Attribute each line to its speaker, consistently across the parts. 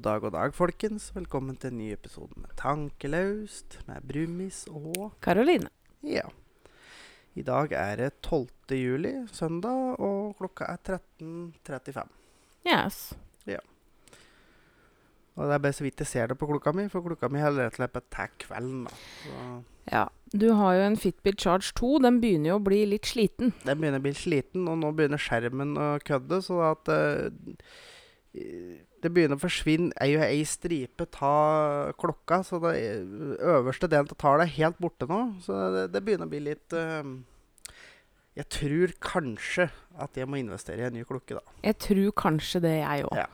Speaker 1: dag og dag, folkens. Velkommen til en ny episode med Tankelaust, med Brumis og
Speaker 2: Karoline.
Speaker 1: Ja. I dag er det 12. juli, søndag, og klokka er 13.35.
Speaker 2: Yes.
Speaker 1: Og det er bare så vidt jeg ser det på klokka mi, for klokka mi har rett og slett bare tatt kvelden. da. Så
Speaker 2: Ja. Du har jo en Fitbit Charge 2. Den begynner jo å bli litt sliten.
Speaker 1: den begynner å bli sliten, og nå begynner skjermen å kødde, så at eh, det begynner å forsvinne ei og ei stripe ta klokka, så det øverste delen av tallet er helt borte nå. Så det, det begynner å bli litt eh, Jeg tror kanskje at jeg må investere i en ny klokke, da.
Speaker 2: Jeg tror kanskje det, jeg òg.
Speaker 1: Ja.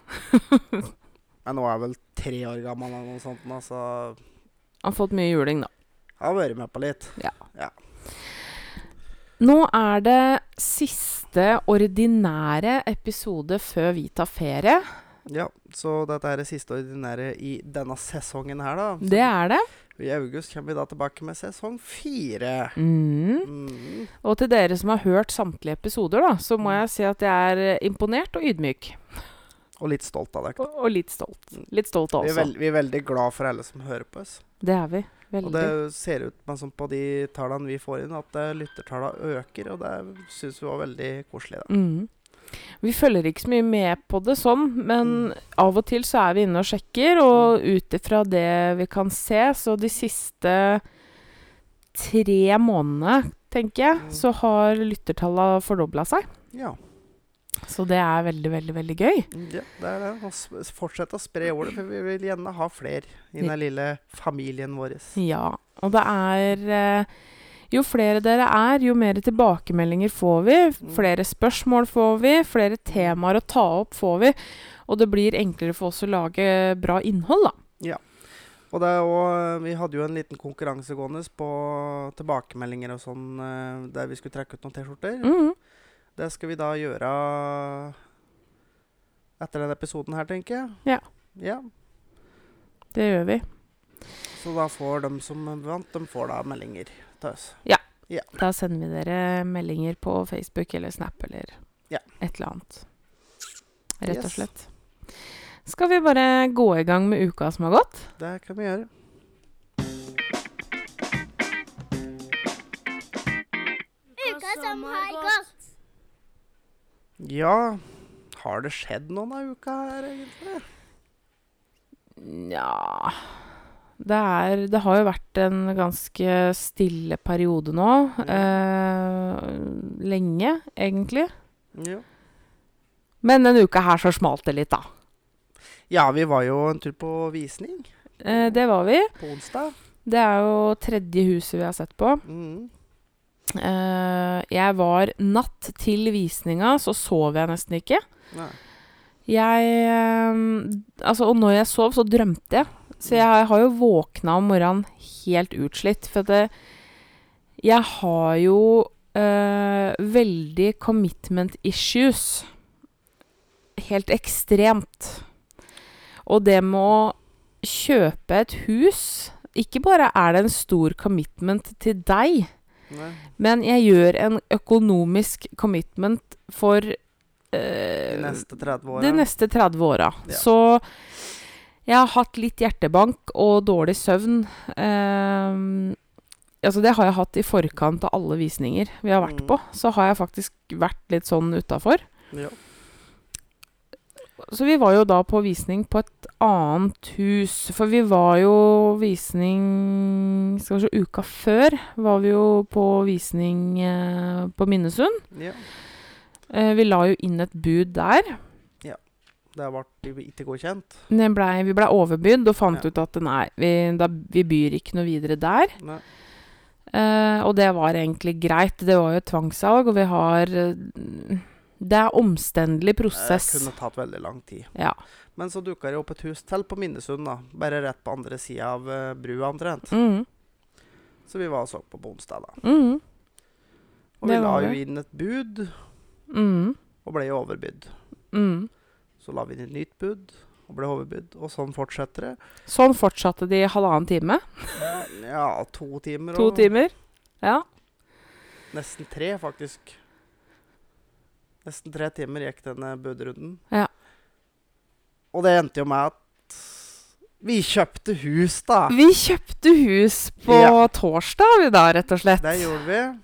Speaker 1: Men nå er jeg vel tre år gammel eller noe sånt, nå, så
Speaker 2: Har fått mye juling, da.
Speaker 1: jeg har vært med på litt.
Speaker 2: Nå er det siste ordinære episode før vi tar ferie.
Speaker 1: Ja, så dette er det siste ordinære i denne sesongen her, da.
Speaker 2: Det er det.
Speaker 1: I august kommer vi da tilbake med sesong fire.
Speaker 2: Mm.
Speaker 1: Mm.
Speaker 2: Og til dere som har hørt samtlige episoder, da, så må jeg si at jeg er imponert og ydmyk.
Speaker 1: Og litt stolt av dere.
Speaker 2: Og, og litt stolt. Litt stolt
Speaker 1: Vi er,
Speaker 2: også.
Speaker 1: veld, vi er veldig glad for alle som hører på oss.
Speaker 2: Det er vi.
Speaker 1: Og
Speaker 2: Veldig.
Speaker 1: det ser ut men sånn på de tallene vi får inn, at eh, lyttertallene øker, og det syns vi var veldig koselig. da.
Speaker 2: Mm. Vi følger ikke så mye med på det sånn, men
Speaker 1: Mm.
Speaker 2: av og til så er vi inne og sjekker, og ut ifra det vi kan se, så de siste tre månedene, tenker jeg,
Speaker 1: Mm.
Speaker 2: så har lyttertallene fordobla seg.
Speaker 1: Ja,
Speaker 2: Så det er veldig, veldig, veldig gøy.
Speaker 1: ja, det er det. Og s- Fortsett å spre ordet, for vi vil gjerne ha flere i den lille familien vår.
Speaker 2: Ja. Og det er eh, Jo flere dere er, jo mer tilbakemeldinger får vi.
Speaker 1: Mm.
Speaker 2: Flere spørsmål får vi. Flere temaer å ta opp får vi. Og det blir enklere for oss å lage bra innhold, da.
Speaker 1: Og det er også, vi hadde jo en liten konkurranse gående på tilbakemeldinger og sånn, eh, der vi skulle trekke ut noen T-skjorter.
Speaker 2: Mm.
Speaker 1: Det skal vi da gjøre etter denne episoden her, tenker jeg.
Speaker 2: Ja.
Speaker 1: Ja,
Speaker 2: Det gjør vi.
Speaker 1: Så da får de som vant, de får da meldinger til oss.
Speaker 2: Da sender vi dere meldinger på Facebook eller Snap eller
Speaker 1: Ja.
Speaker 2: et eller annet. Rett og
Speaker 1: Yes.
Speaker 2: slett. Skal vi bare gå i gang med uka som har gått?
Speaker 1: Det kan vi gjøre.
Speaker 3: Uka som har gått.
Speaker 1: Ja, har det skjedd noen av uka her, egentlig?
Speaker 2: Nja det, er, det har jo vært en ganske stille periode nå. Eh, lenge, egentlig.
Speaker 1: Ja.
Speaker 2: Men denne uka her så smalt det litt, da.
Speaker 1: ja, vi var jo en tur på visning
Speaker 2: Eh, det var vi.
Speaker 1: på onsdag.
Speaker 2: Det er jo tredje huset vi har sett på.
Speaker 1: Mm.
Speaker 2: Eh, jeg var natt til visninga, så sov jeg nesten ikke.
Speaker 1: Nei.
Speaker 2: Jeg ehm, Altså, og når jeg sov, så drømte jeg. Så jeg har jo våkna om morgenen helt utslitt. For at det, jeg har jo eh, veldig commitment issues. Helt ekstremt. Og det med å kjøpe et hus Ikke bare er det en stor commitment til deg,
Speaker 1: Nei.
Speaker 2: men jeg gjør en økonomisk commitment for
Speaker 1: De
Speaker 2: eh,
Speaker 1: neste 30
Speaker 2: de
Speaker 1: åra.
Speaker 2: neste 30 åra.
Speaker 1: Ja.
Speaker 2: Så jeg har hatt litt hjertebank og dårlig søvn. Ehm, altså det har jeg hatt i forkant av alle visninger vi har vært
Speaker 1: Mm.
Speaker 2: på. Så har jeg faktisk vært litt sånn utafor.
Speaker 1: Ja.
Speaker 2: Så vi var jo da på visning på et annet hus. For vi var jo visning Skal vi se, uka før var vi jo på visning eh, på Minnesund.
Speaker 1: ja.
Speaker 2: Eh, vi la jo inn et bud der.
Speaker 1: Det ble ikke godkjent.
Speaker 2: Det blei- vi blei overbydd og fant
Speaker 1: Ja.
Speaker 2: ut at nei, vi, da, vi byr ikke noe videre der.
Speaker 1: Nei.
Speaker 2: Eh, og det var egentlig greit. Det var jo et tvangssalg, og vi har eh, Det er omstendelig
Speaker 1: Det
Speaker 2: prosess.
Speaker 1: kunne tatt veldig lang tid.
Speaker 2: Ja.
Speaker 1: Men så dukka det opp et hus til på Minnesund, da. Bare rett på andre sida av eh, brua, omtrent.
Speaker 2: Mm,
Speaker 1: Så vi var og så på på onsdag, da.
Speaker 2: mm,
Speaker 1: Og
Speaker 2: Det
Speaker 1: vi la
Speaker 2: var
Speaker 1: jo
Speaker 2: det.
Speaker 1: inn et bud,
Speaker 2: mm,
Speaker 1: og ble jo overbydd.
Speaker 2: mm.
Speaker 1: Så la vi inn et nytt bud, og ble overbydd. Og sånn fortsetter det.
Speaker 2: Sånn fortsatte de i halvannen time.
Speaker 1: Ja, to timer.
Speaker 2: To
Speaker 1: og
Speaker 2: timer. Ja.
Speaker 1: Nesten tre, faktisk. Nesten tre timer gikk denne budrunden.
Speaker 2: Ja.
Speaker 1: Og det endte jo med at Vi kjøpte hus, da.
Speaker 2: Vi kjøpte hus på
Speaker 1: Ja.
Speaker 2: torsdag, vi da, rett og slett.
Speaker 1: Det gjorde vi.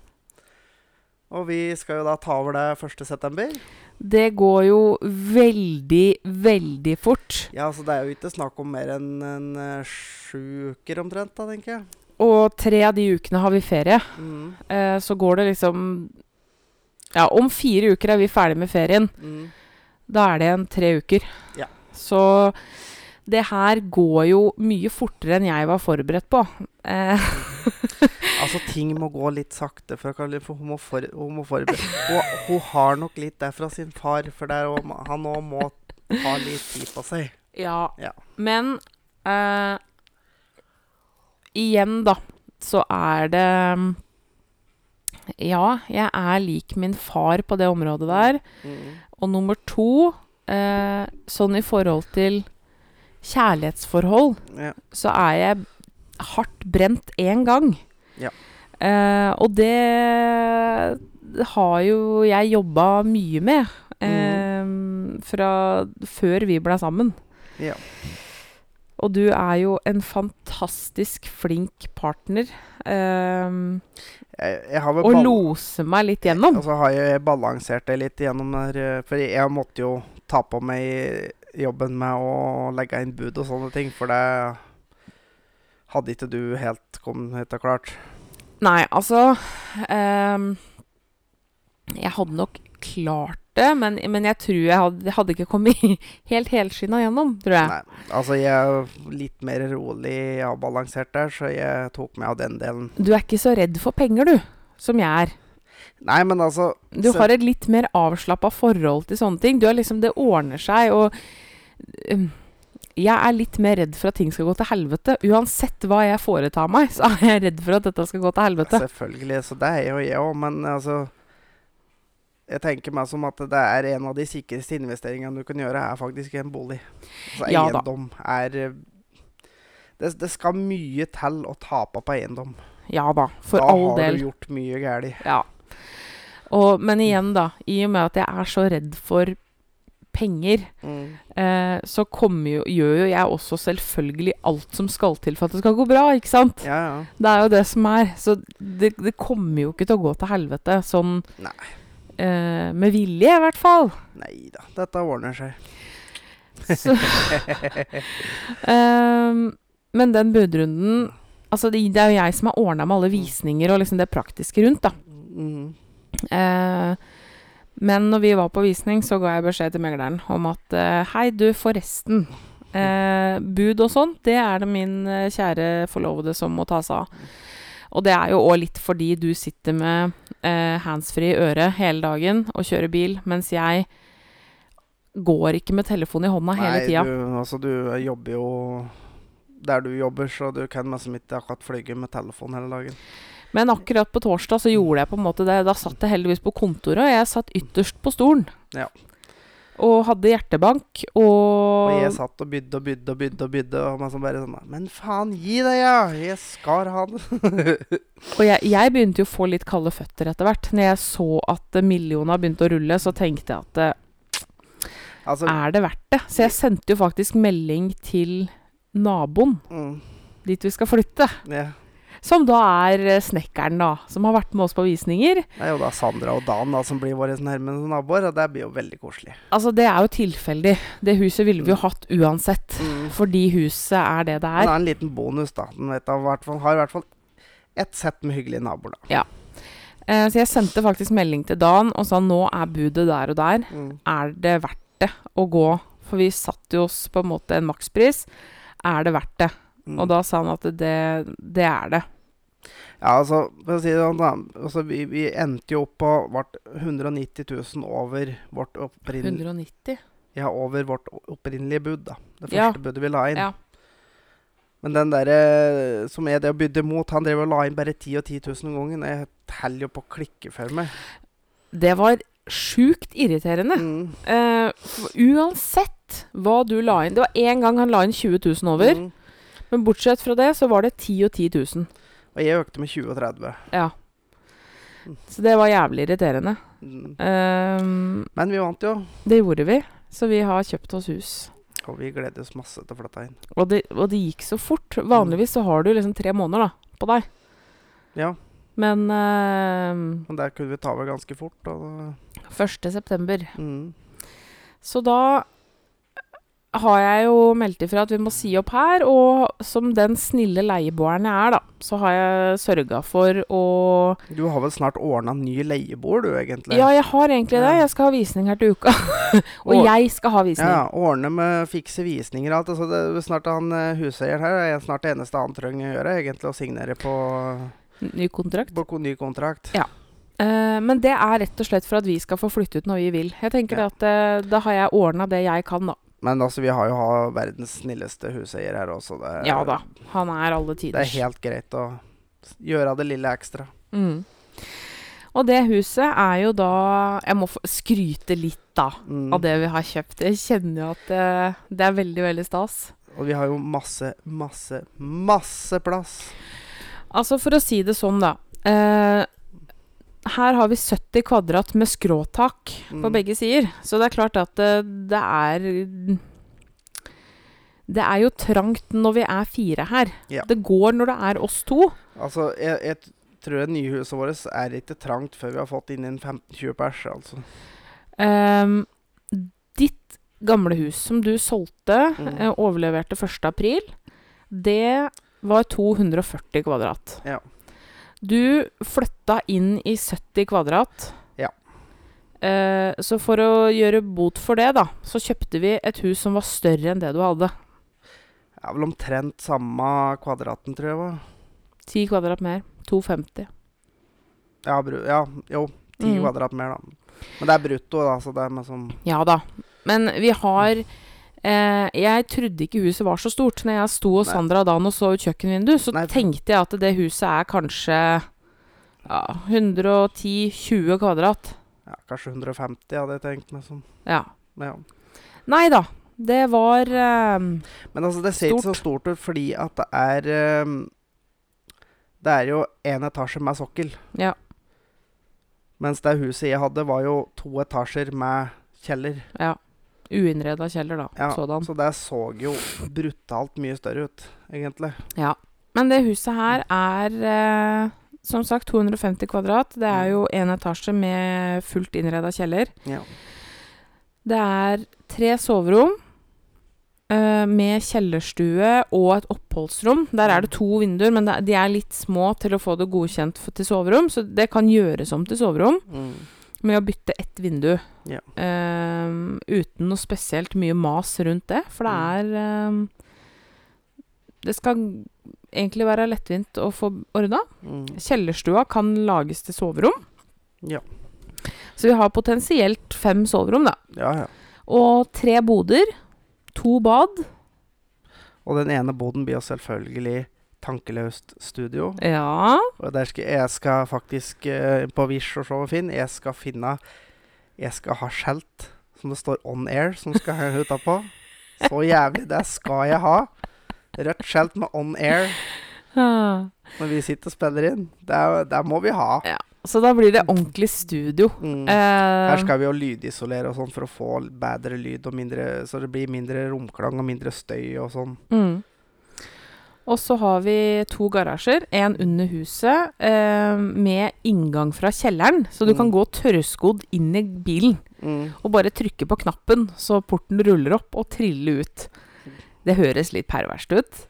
Speaker 1: Og vi skal jo da ta over det 1. september.
Speaker 2: Det går jo veldig, veldig fort.
Speaker 1: Ja, så det er jo ikke snakk om mer enn en, eh, sju uker omtrent, da, tenker jeg.
Speaker 2: Og tre av de ukene har vi ferie.
Speaker 1: Mm,
Speaker 2: Eh, så går det liksom Ja, om fire uker er vi ferdig med ferien.
Speaker 1: mm.
Speaker 2: Da er det igjen tre uker.
Speaker 1: Ja.
Speaker 2: Så det her går jo mye fortere enn jeg var forberedt på. Eh,
Speaker 1: Altså, ting må gå litt sakte, for, Karoline, for hun må, for, hun må forberede Og hun har nok litt der fra sin far, for det er jo- han òg må ha litt tid på seg.
Speaker 2: ja.
Speaker 1: Ja.
Speaker 2: Men eh, igjen, da, så er det Ja, jeg er lik min far på det området der.
Speaker 1: Mm.
Speaker 2: Og nummer to, eh, sånn i forhold til kjærlighetsforhold,
Speaker 1: Ja.
Speaker 2: så er jeg hardt brent én gang.
Speaker 1: Ja.
Speaker 2: Eh, og det har jo jeg jobba mye med
Speaker 1: Mm.
Speaker 2: eh, fra før vi ble sammen.
Speaker 1: Ja.
Speaker 2: Og du er jo en fantastisk flink partner. eh,
Speaker 1: Jeg, jeg har vel
Speaker 2: og
Speaker 1: ball-
Speaker 2: loser meg litt gjennom.
Speaker 1: Og så har jeg balansert det litt gjennom der, eh, for jeg måtte jo ta på meg jobben med å legge inn bud og sånne ting, for det hadde ikke du helt kommet og klart.
Speaker 2: Nei, altså ehm, Jeg hadde nok klart det, men, men jeg tror jeg hadde, jeg hadde ikke kommet helt helskinna gjennom, tror jeg.
Speaker 1: Nei, altså jeg er litt mer rolig og balansert der, så jeg tok meg av den delen.
Speaker 2: Du er ikke så redd for penger, du, som jeg er.
Speaker 1: Nei, men altså
Speaker 2: Du
Speaker 1: Så-
Speaker 2: har et litt mer avslappa forhold til sånne ting. Du er liksom Det ordner seg, og ehm, jeg er litt mer redd for at ting skal gå til helvete. Uansett hva jeg foretar meg, så er jeg redd for at dette skal gå
Speaker 1: Altså,
Speaker 2: til helvete.
Speaker 1: Selvfølgelig, så det er jo jeg òg, men altså Jeg tenker meg som at det er en av de sikreste investeringene du kan gjøre, er faktisk en bolig. Altså
Speaker 2: Ja da.
Speaker 1: eiendom er eh, det, det skal mye til å tape på eiendom.
Speaker 2: Ja da, for
Speaker 1: da
Speaker 2: all
Speaker 1: har
Speaker 2: del.
Speaker 1: du gjort mye galt.
Speaker 2: Ja. Og, men igjen, da. I og med at jeg er så redd for penger, eh, så kommer jo, gjør jo jeg også selvfølgelig alt som skal til for at det skal gå bra, ikke sant?
Speaker 1: Ja, ja.
Speaker 2: Det er jo det som er. Så det, det kommer jo ikke til å gå til helvete sånn
Speaker 1: Nei.
Speaker 2: eh, med vilje, i hvert fall.
Speaker 1: Nei da, dette ordner seg.
Speaker 2: Så, Ehm, men den budrunden Altså, det, det er jo jeg som har ordna med alle visninger og liksom det praktiske rundt, da.
Speaker 1: Mm.
Speaker 2: Eh, men når vi var på visning, så ga jeg beskjed til megleren om at eh, Hei, du, forresten. Eh, bud og sånt, det er det min eh, kjære forlovede som må ta seg av. Og det er jo òg litt fordi du sitter med eh, handsfree i øret hele dagen og kjører bil, mens jeg går ikke med telefonen i hånda hele
Speaker 1: Nei,
Speaker 2: tida.
Speaker 1: du, altså, du jobber jo der du jobber, så du kan liksom ikke akkurat flyge med telefon hele dagen.
Speaker 2: Men akkurat på torsdag så gjorde jeg på en måte det. Da satt jeg heldigvis på kontoret, og jeg satt ytterst på stolen.
Speaker 1: Ja.
Speaker 2: Og hadde hjertebank, og,
Speaker 1: Og jeg satt og bydde og bydde og bydde og bydde, og man sånn bare sånn Men faen, gi deg, ja! Jeg skar han.
Speaker 2: Og jeg, jeg begynte jo å få litt kalde føtter etter hvert. Når jeg så at eh, milliona begynte å rulle, så tenkte jeg at eh,
Speaker 1: Altså,
Speaker 2: er det verdt det? Så jeg sendte jo faktisk melding til naboen
Speaker 1: mm,
Speaker 2: dit vi skal flytte.
Speaker 1: ja.
Speaker 2: Som da er eh, snekkeren, da. Som har vært med oss på visninger.
Speaker 1: Det er jo da Sandra og Dan da, som blir våre nærmeste naboer, og det blir jo veldig koselig.
Speaker 2: Altså, det er jo tilfeldig. Det huset ville vi jo hatt uansett.
Speaker 1: Mm.
Speaker 2: Fordi huset er det det
Speaker 1: Men det
Speaker 2: er.
Speaker 1: er en liten bonus, da. Den vet, da, hvert fall- har i hvert fall ett sett med hyggelige naboer, da.
Speaker 2: Eh, Så jeg sendte faktisk melding til Dan og sa nå er budet der og der.
Speaker 1: Mm.
Speaker 2: er det verdt det å gå? For vi satte jo oss på en måte en makspris. Er det verdt det?
Speaker 1: Mm.
Speaker 2: Og da sa han at det, det er det.
Speaker 1: Ja, altså, for å si det sånn, da. Altså, vi, vi endte jo opp på vart 190 000 over vårt, opprinn,
Speaker 2: 190.
Speaker 1: ja, over vårt opprinnelige bud, da. Det første
Speaker 2: Ja.
Speaker 1: budet vi la inn.
Speaker 2: Ja.
Speaker 1: Men den derre som er det å bydde mot, han drev og la inn bare 10 og 10 000 ganger. og Jeg teller jo på å klikke for meg.
Speaker 2: Det var sjukt irriterende.
Speaker 1: Mm.
Speaker 2: Eh, for uansett hva du la inn Det var én gang han la inn 20 000 over.
Speaker 1: Mm.
Speaker 2: Men bortsett fra det, så var det 10 og 10 000.
Speaker 1: Og jeg økte med 20 og 30.
Speaker 2: Ja. Så det var jævlig irriterende.
Speaker 1: Mm.
Speaker 2: Eh,
Speaker 1: Men vi vant jo.
Speaker 2: det gjorde vi. Så vi har kjøpt oss hus.
Speaker 1: får vi glede oss masse til å flytte inn.
Speaker 2: Og det, og det gikk så fort. Vanligvis så har du liksom tre måneder da, på deg.
Speaker 1: Ja,
Speaker 2: Men eh,
Speaker 1: men der kunne vi ta over ganske fort. Og,
Speaker 2: 1. september
Speaker 1: mm.
Speaker 2: Så da har jeg jo meldt ifra at vi må si opp her, og som den snille leieboeren jeg er, da, så har jeg sørga for å
Speaker 1: Du har vel snart ordna ny leieboer, du, egentlig?
Speaker 2: Ja, jeg har egentlig det. Jeg skal ha visning her til uka. og
Speaker 1: Og-
Speaker 2: jeg skal ha visning.
Speaker 1: Ja, ordne med fikse visninger og alt. Altså det, er snart han eh, huseieren her er snart det eneste han trenger å gjøre, egentlig, å signere på,
Speaker 2: Ny kontrakt.
Speaker 1: på ko- ny kontrakt.
Speaker 2: Ja. Eh, men det er rett og slett for at vi skal få flytte ut når vi vil. Jeg tenker
Speaker 1: Ja.
Speaker 2: det at eh, Da har jeg ordna det jeg kan, da.
Speaker 1: Men altså, vi har jo ha verdens snilleste huseier her også. Det, er-
Speaker 2: Ja da. Han er alle
Speaker 1: Eh, det er
Speaker 2: tiders.
Speaker 1: helt greit å s- gjøre det lille ekstra.
Speaker 2: Mm. Og det huset er jo da Jeg må få skryte litt, da.
Speaker 1: Mm.
Speaker 2: av det vi har kjøpt. Jeg kjenner jo at eh, det er veldig, veldig stas.
Speaker 1: Og vi har jo masse, masse, masse plass.
Speaker 2: Altså, for å si det sånn, da. eh, her har vi 70 kvadrat med skråtak på
Speaker 1: Mm.
Speaker 2: begge sider. Så det er klart at eh, det er Det er jo trangt når vi er fire her.
Speaker 1: Ja.
Speaker 2: Det går når det er oss to.
Speaker 1: Altså, jeg, jeg t- tror nyhuset vårt er ikke trangt før vi har fått inn en 15-20 pers, altså.
Speaker 2: Ehm, ditt gamle hus som du solgte,
Speaker 1: Mm.
Speaker 2: eh, overleverte 1. april, det var 240 kvadrat.
Speaker 1: Ja.
Speaker 2: Du flytta inn i 70 kvadrat.
Speaker 1: Ja.
Speaker 2: Eh, så for å gjøre bot for det, da, så kjøpte vi et hus som var større enn det du hadde.
Speaker 1: Det er vel omtrent samme kvadraten, tror jeg. hva?
Speaker 2: 10 kvadrat mer. 250.
Speaker 1: Ja, bru, ja jo. Ti
Speaker 2: Mm.
Speaker 1: kvadrat mer, da. Men det er brutto, da, så det er liksom
Speaker 2: Ja da. Men vi har eh, Jeg trodde ikke huset var så stort. Når jeg sto hos
Speaker 1: Nei.
Speaker 2: Sandra Dan og så ut kjøkkenvinduet, så
Speaker 1: Nei.
Speaker 2: tenkte jeg at det huset er kanskje ja, 110-20 kvadrat.
Speaker 1: ja, Kanskje 150, hadde jeg tenkt meg som.
Speaker 2: Ja.
Speaker 1: Ja.
Speaker 2: Nei da. Det var eh,
Speaker 1: Men altså, det ser ikke så stort ut fordi at det er ehm, Det er jo én etasje med sokkel.
Speaker 2: Ja.
Speaker 1: Mens det huset jeg hadde, var jo to etasjer med kjeller.
Speaker 2: ja, uinnreda kjeller, da.
Speaker 1: Ja,
Speaker 2: Sådan.
Speaker 1: Så det så jo brutalt mye større ut, egentlig.
Speaker 2: Men det huset her er eh, som sagt 250 kvadrat. Det er jo én etasje med fullt innreda kjeller.
Speaker 1: Ja.
Speaker 2: Det er tre soverom eh, med kjellerstue og et oppholdsrom. Der er det to vinduer, men det, er- de er litt små til å få det godkjent for, til soverom, så det kan gjøres om til soverom
Speaker 1: Mm.
Speaker 2: med å bytte ett vindu.
Speaker 1: Ja.
Speaker 2: Eh, uten noe spesielt mye mas rundt det, for det
Speaker 1: Mm.
Speaker 2: er eh, Det skal egentlig være lettvint å få ordna.
Speaker 1: Mm.
Speaker 2: Kjellerstua kan lages til soverom.
Speaker 1: Ja.
Speaker 2: Så vi har potensielt fem soverom, da.
Speaker 1: ja, ja.
Speaker 2: Og tre boder, to bad.
Speaker 1: Og den ene boden blir jo selvfølgelig Tankeløst studio.
Speaker 2: Ja.
Speaker 1: Og der skal, jeg skal faktisk eh, på Wish og så og Finn, jeg skal finne Jeg skal ha skjelt som det står On Air, som skal henge utapå. Så jævlig, det skal jeg ha. Rødt skjelt med On Air når vi sitter og spiller inn. Det, er- det må vi ha.
Speaker 2: Så da blir det ordentlig studio.
Speaker 1: Mm.
Speaker 2: Eh,
Speaker 1: Her skal vi jo lydisolere og sånn for å få bedre lyd, og mindre, så det blir mindre romklang og mindre støy og sånn.
Speaker 2: mm. Og så har vi to garasjer. En under huset eh, med inngang fra kjelleren. Så du
Speaker 1: Mm.
Speaker 2: kan gå tørrskodd inn i bilen
Speaker 1: Mm.
Speaker 2: og bare trykke på knappen så porten ruller opp og triller ut. Det høres litt perverst ut.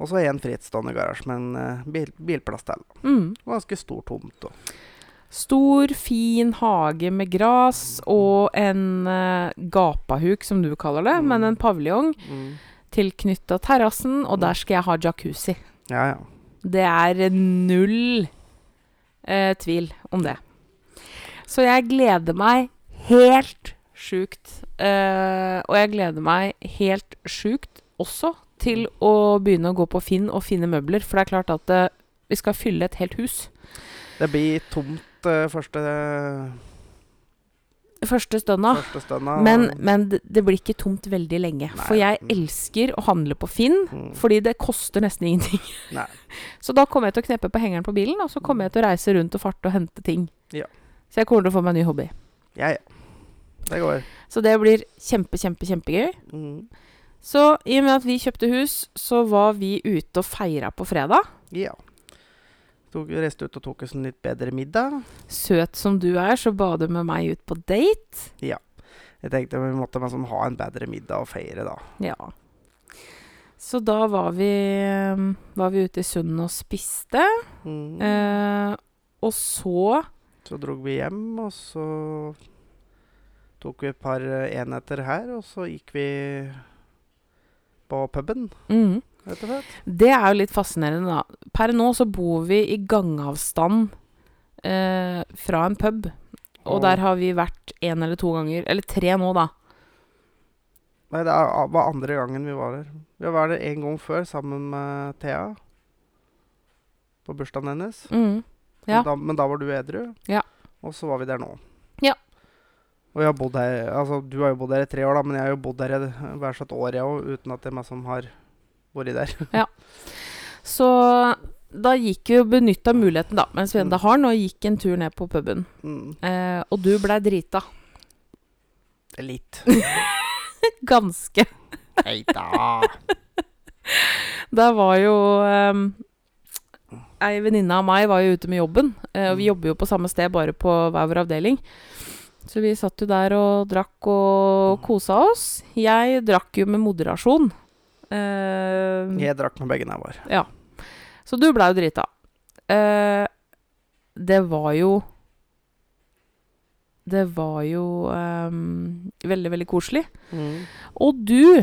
Speaker 1: Og så en frittstående garasje med en eh, bil, bilplass til.
Speaker 2: Mm.
Speaker 1: Ganske stor tomt. Og.
Speaker 2: Stor, fin hage med gras og en eh, gapahuk, som du kaller det, men en paviljong
Speaker 1: Mm.
Speaker 2: tilknytta terrassen, og der skal jeg ha jacuzzi.
Speaker 1: Ja, ja.
Speaker 2: Det er null eh, tvil om det. Så jeg gleder meg helt sjukt. eh, og jeg gleder meg helt sjukt også til å begynne å gå på Finn og finne møbler, for det er klart at eh, vi skal fylle et helt hus.
Speaker 1: Det blir tomt eh, første,
Speaker 2: Første stunda
Speaker 1: første stunda.
Speaker 2: Men, men det, det blir ikke tomt veldig lenge.
Speaker 1: Nei.
Speaker 2: For jeg
Speaker 1: Mm.
Speaker 2: elsker å handle på Finn,
Speaker 1: Mm.
Speaker 2: fordi det koster nesten ingenting.
Speaker 1: Nei.
Speaker 2: Så da kommer jeg til å kneppe på hengeren på bilen, og så kommer jeg til å reise rundt og farte og hente ting.
Speaker 1: Ja.
Speaker 2: Så jeg kommer til å få meg en ny hobby.
Speaker 1: Ja, ja. Det går.
Speaker 2: Så det blir kjempe, kjempe, kjempegøy.
Speaker 1: Mm.
Speaker 2: Så i og med at vi kjøpte hus, så var vi ute og feira på fredag.
Speaker 1: Ja. Tok, reiste ut og tok oss en litt bedre middag.
Speaker 2: Søt som du er, så ba du med meg ut på date.
Speaker 1: Jeg tenkte vi måtte liksom ha en bedre middag og feire, da.
Speaker 2: Ja. Så da var vi, eh, var vi ute i sundet og spiste.
Speaker 1: Mm.
Speaker 2: Eh, og så
Speaker 1: Så drog vi hjem, og så tok vi et par eh, enheter her, og så gikk vi på puben,
Speaker 2: mm,
Speaker 1: rett og slett.
Speaker 2: Det er jo litt fascinerende, da. Per nå så bor vi i gangavstand eh, fra en pub. Og
Speaker 1: Og-
Speaker 2: der har vi vært én eller to ganger. Eller tre nå, da.
Speaker 1: Nei, det er- var andre gangen vi var her. Vi var der en gang før sammen med Thea. På bursdagen hennes.
Speaker 2: Mm. Ja.
Speaker 1: Men, da, men da var du edru.
Speaker 2: Ja.
Speaker 1: Og så var vi der nå.
Speaker 2: Ja.
Speaker 1: Og jeg har bodd her, altså Du har jo bodd her i tre år, da, men jeg har jo bodd her i hver sitt år, jeg òg, uten at det er meg som har vært der.
Speaker 2: Så da gikk vi og benytta muligheten, da, mens vi ennå
Speaker 1: Mm.
Speaker 2: har den, og gikk en tur ned på puben.
Speaker 1: Mm,
Speaker 2: Eh, og du blei drita.
Speaker 1: litt.
Speaker 2: Ganske.
Speaker 1: Hei da.
Speaker 2: Der var jo um, Ei venninne av meg var jo ute med jobben, eh, og vi
Speaker 1: Mm.
Speaker 2: jobber jo på samme sted, bare på hver vår avdeling. Så vi satt jo der og drakk
Speaker 1: Mm.
Speaker 2: og kosa oss. Jeg drakk jo med moderasjon. Eh,
Speaker 1: Jeg drakk med begge never.
Speaker 2: Så du blei jo drita. Eh, det var jo Det var jo ehm, veldig, veldig koselig.
Speaker 1: Mm.
Speaker 2: Og du,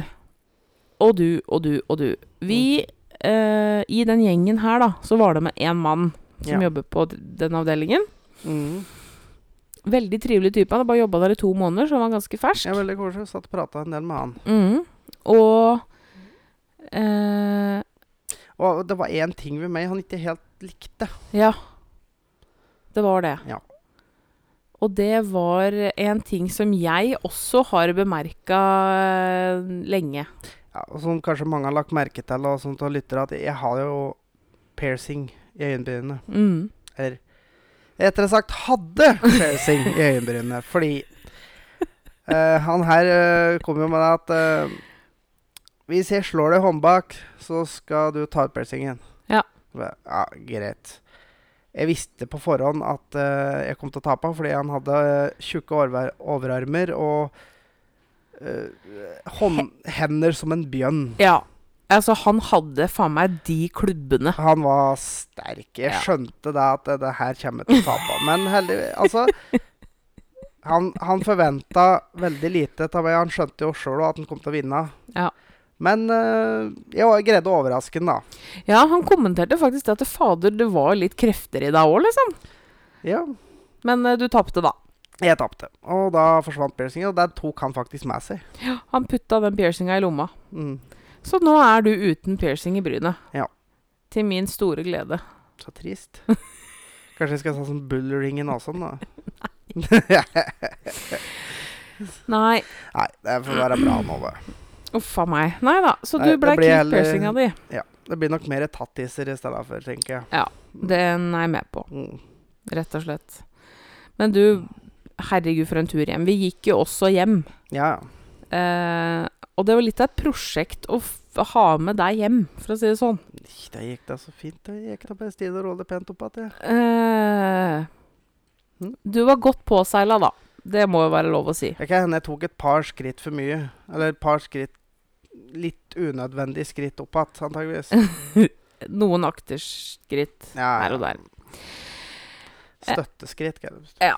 Speaker 2: og du, og du, og du. Vi eh, I den gjengen her, da, så var det med én mann som
Speaker 1: Ja.
Speaker 2: jobber på d- den avdelingen.
Speaker 1: Mm.
Speaker 2: Veldig trivelig type. Han hadde bare jobba der i to måneder, så han var ganske fersk.
Speaker 1: Jeg er veldig koselig. Satt og prata en del med han.
Speaker 2: Mhm. Og eh,
Speaker 1: Og det var én ting ved meg han ikke helt likte.
Speaker 2: Ja. Det var det.
Speaker 1: Ja.
Speaker 2: Og det var en ting som jeg også har bemerka lenge.
Speaker 1: Ja, og som kanskje mange har lagt merke til, og sånt og lytter, at jeg har jo piercing i øyenbrynene.
Speaker 2: Mm.
Speaker 1: Eller rettere sagt hadde piercing i øyenbrynene. Fordi eh, han her eh, kom jo med det at eh, Hvis jeg slår deg i håndbak, så skal du ta ut piercingen.
Speaker 2: Ja.
Speaker 1: Ba, Ja, greit. Jeg visste på forhånd at eh, jeg kom til å tape fordi han hadde eh, tjukke overver- overarmer og eh, hånd, hender som en bjønn.
Speaker 2: Ja. Altså, han hadde faen meg de klubbene.
Speaker 1: Han var sterk. Jeg
Speaker 2: Ja.
Speaker 1: skjønte da at det, det her kommer jeg til å tape. Men heldigvis Altså. Han, han forventa veldig lite av meg. Han skjønte jo sjøl at han kom til å vinne.
Speaker 2: Ja.
Speaker 1: Men eh, jeg var- greide å overraske han, da.
Speaker 2: Ja, han kommenterte faktisk det at fader, det var litt krefter i deg òg, liksom.
Speaker 1: Ja,
Speaker 2: Men eh, du tapte, da.
Speaker 1: jeg tapte. Og da forsvant piercingen, og den tok han faktisk med seg.
Speaker 2: Han putta den piercinga i lomma.
Speaker 1: Mm.
Speaker 2: Så nå er du uten piercing i brynet.
Speaker 1: Ja.
Speaker 2: Til min store glede.
Speaker 1: Så trist. Kanskje jeg skal ta sånn bullringen også, da.
Speaker 2: Nei,
Speaker 1: Nei, det får være bra nå, det.
Speaker 2: uff a meg. Nei da. Så
Speaker 1: Nei,
Speaker 2: du blei
Speaker 1: det blir
Speaker 2: kvitt
Speaker 1: heller-
Speaker 2: piercinga di.
Speaker 1: Det blir nok mer tattiser i stedet for, tenker jeg.
Speaker 2: Den er jeg med på.
Speaker 1: Mm.
Speaker 2: rett og slett. Men du, herregud for en tur hjem. Vi gikk jo også hjem.
Speaker 1: Ja, ja.
Speaker 2: Eh, og det var litt av et prosjekt å f ha med deg hjem, for å si det sånn.
Speaker 1: Ikk, Da gikk det så fint. Da gikk det bare stille og rolig pent opp igjen.
Speaker 2: Eh, du var godt påseila, da. Det må jo være lov å si.
Speaker 1: Det kan hende jeg tok et par skritt for mye. Eller et par skritt Litt unødvendig skritt opp igjen, antageligvis.
Speaker 2: Noen akterskritt
Speaker 1: Ja, ja.
Speaker 2: her og der.
Speaker 1: Støtteskritt, kan du si.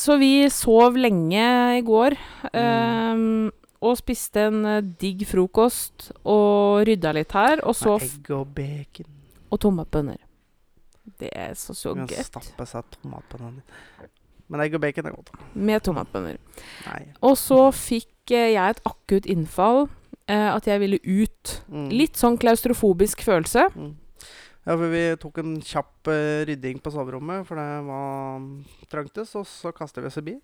Speaker 2: Så vi sov lenge i går. eh,
Speaker 1: Mm.
Speaker 2: Og spiste en eh, digg frokost og rydda litt her. Og så
Speaker 1: Med egg og bacon.
Speaker 2: Og tomme bønner. Det er så så
Speaker 1: Kan
Speaker 2: godt.
Speaker 1: stappe seg tomat på den. Men egg og bacon er godt.
Speaker 2: Med tomatbønner.
Speaker 1: Nei.
Speaker 2: Og så fikk eh, jeg et akutt innfall. Eh, at jeg ville ut.
Speaker 1: Mm.
Speaker 2: Litt sånn klaustrofobisk følelse.
Speaker 1: Mm. Ja, for vi tok en kjapp eh, rydding på soverommet, for det var trangtes, og så kastet vi oss i bil.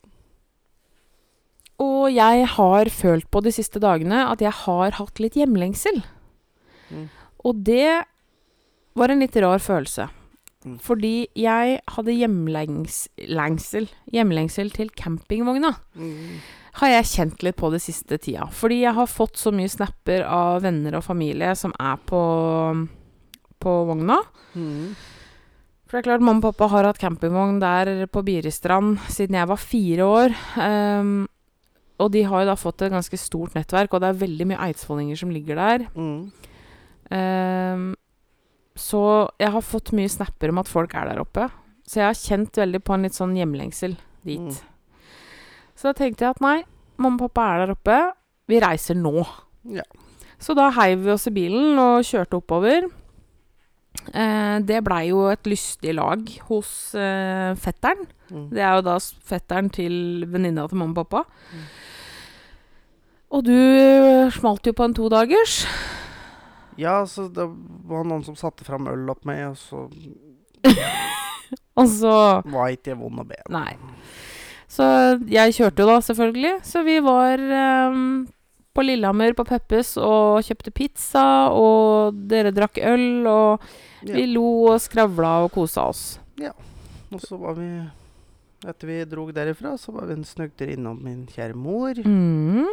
Speaker 2: Og jeg har følt på de siste dagene at jeg har hatt litt hjemlengsel.
Speaker 1: Mm.
Speaker 2: Og det var en litt rar følelse.
Speaker 1: Mm.
Speaker 2: Fordi
Speaker 1: Mm.
Speaker 2: jeg hadde hjemlengs lengsel, hjemlengsel til campingvogna. har jeg kjent litt på det siste tida. Fordi jeg har fått så mye snapper av venner og familie som er på, på vogna.
Speaker 1: Mm.
Speaker 2: For det er klart, mamma og pappa har hatt campingvogn der på Biristrand siden jeg var fire år. Ehm, og de har jo da fått et ganske stort nettverk, og det er veldig mye eidsvollinger som ligger der.
Speaker 1: Mm.
Speaker 2: Ehm, så jeg har fått mye snapper om at folk er der oppe. Så jeg har kjent veldig på en litt sånn hjemlengsel dit.
Speaker 1: Mm.
Speaker 2: Så da tenkte jeg at nei, mamma og pappa er der oppe. Vi reiser nå.
Speaker 1: Ja.
Speaker 2: Så da heiv vi oss i bilen og kjørte oppover. Eh, det blei jo et lystig lag hos eh, fetteren.
Speaker 1: Mm.
Speaker 2: Det er jo da s- fetteren til venninna til mamma og pappa.
Speaker 1: Mm.
Speaker 2: Og du eh, smalt jo på en todagers.
Speaker 1: Ja, så det var noen som satte fram øl opp meg, og så
Speaker 2: Og så
Speaker 1: var ikke jeg vond å be.
Speaker 2: Nei. Så jeg kjørte jo da, selvfølgelig. Så vi var ehm, på Lillehammer på Peppes og kjøpte pizza, og dere drakk øl, og
Speaker 1: Ja.
Speaker 2: vi lo og skravla og kosa oss.
Speaker 1: Og så var vi Etter vi drog derifra, så var vi en snugter innom min kjære mor.
Speaker 2: Mm.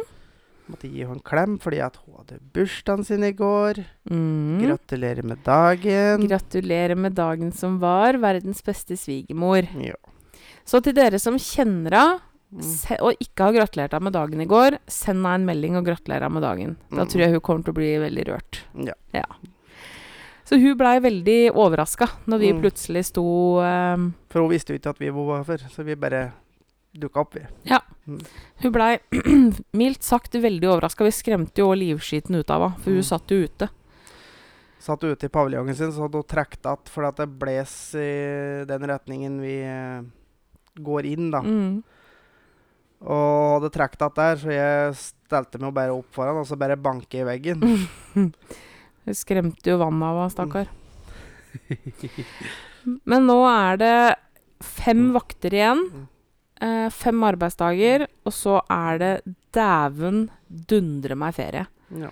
Speaker 1: Måtte gi henne en klem fordi at hun hadde bursdagen sin i går.
Speaker 2: Mm.
Speaker 1: Gratulerer med dagen.
Speaker 2: Gratulerer med dagen som var, verdens beste svigermor.
Speaker 1: ja.
Speaker 2: Så til dere som kjenner henne
Speaker 1: Mm.
Speaker 2: se- og ikke har gratulert henne med dagen i går, send henne en melding og gratulerer henne med dagen. Da
Speaker 1: Mm.
Speaker 2: tror jeg hun kommer til å bli veldig rørt.
Speaker 1: ja.
Speaker 2: Så hun blei veldig overraska når vi
Speaker 1: Mm.
Speaker 2: plutselig sto ehm,
Speaker 1: For hun visste jo ikke at vi var her før, så vi bare dukka opp, vi.
Speaker 2: Hun blei mildt sagt veldig overraska. Vi skremte jo livskiten ut av henne, for hun
Speaker 1: Mm.
Speaker 2: satt jo ute.
Speaker 1: Satt ute i paviljongen sin, så hadde hun trukket att fordi at det bles i den retningen vi eh, går inn, da.
Speaker 2: Mm.
Speaker 1: Og hadde trukket att der, så jeg stelte meg jo bare opp foran, og så bare banke i veggen.
Speaker 2: Hun skremte jo vannet av henne, stakkar. Men nå er det fem
Speaker 1: Mm.
Speaker 2: vakter igjen.
Speaker 1: Mm.
Speaker 2: eh, Fem arbeidsdager, og så er det dæven dundre meg ferie.
Speaker 1: Ja.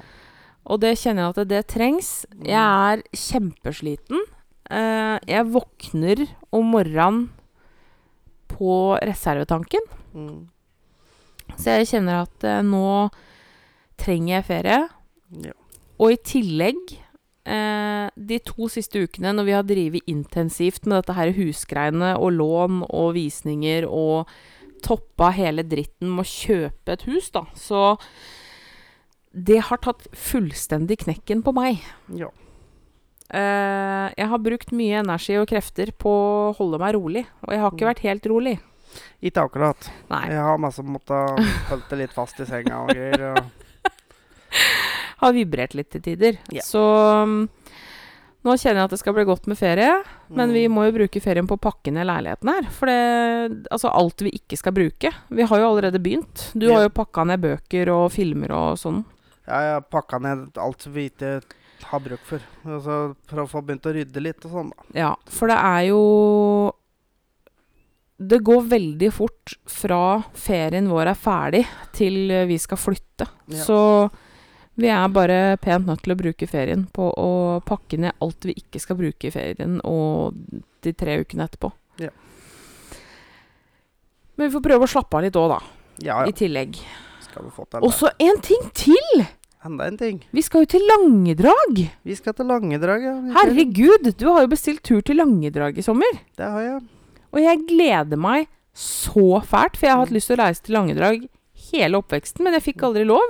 Speaker 2: Og det kjenner jeg at det, det trengs. Jeg
Speaker 1: Mm.
Speaker 2: er kjempesliten. Eh, Jeg våkner om morgenen på reservetanken.
Speaker 1: Mm.
Speaker 2: Så jeg kjenner at eh, nå trenger jeg ferie.
Speaker 1: ja.
Speaker 2: Og i tillegg, eh, de to siste ukene når vi har drevet intensivt med dette her husgreiene og lån og visninger og toppa hele dritten med å kjøpe et hus, da, så det har tatt fullstendig knekken på meg.
Speaker 1: ja.
Speaker 2: Eh, jeg har brukt mye energi og krefter på å holde meg rolig, og jeg har ikke vært helt rolig.
Speaker 1: Ikke akkurat.
Speaker 2: Nei.
Speaker 1: Jeg har masse måttet holdt det litt fast i senga og greier. Og,
Speaker 2: har vibrert litt til tider.
Speaker 1: Ja.
Speaker 2: Så um, nå kjenner jeg at det skal bli godt med ferie, men
Speaker 1: Mm.
Speaker 2: vi må jo bruke ferien på å pakke ned leiligheten her. For det Altså alt vi ikke skal bruke. Vi har jo allerede begynt. Du
Speaker 1: Ja.
Speaker 2: har jo pakka ned bøker og filmer og sånn.
Speaker 1: Jeg har pakka ned alt som vi ikke har bruk for. Og så prøv å få begynt å rydde litt og sånn, da.
Speaker 2: Ja, for det er jo Det går veldig fort fra ferien vår er ferdig, til eh, vi skal flytte.
Speaker 1: Ja.
Speaker 2: Så vi er bare pent nødt til å bruke ferien på å pakke ned alt vi ikke skal bruke i ferien, og de tre ukene etterpå.
Speaker 1: Ja.
Speaker 2: Men vi får prøve å slappe av litt òg, da.
Speaker 1: Ja
Speaker 2: I
Speaker 1: ja,
Speaker 2: tillegg.
Speaker 1: skal vi få til
Speaker 2: Og
Speaker 1: det.
Speaker 2: så en ting til!
Speaker 1: Enda en ting.
Speaker 2: Vi skal jo til Langedrag!
Speaker 1: Vi skal til Langedrag, ja. Vi skal-
Speaker 2: Herregud, du har jo bestilt tur til Langedrag i sommer.
Speaker 1: Det har jeg.
Speaker 2: Og jeg gleder meg så fælt, for jeg har hatt
Speaker 1: Mm.
Speaker 2: lyst til å reise til Langedrag hele oppveksten, men jeg fikk aldri lov.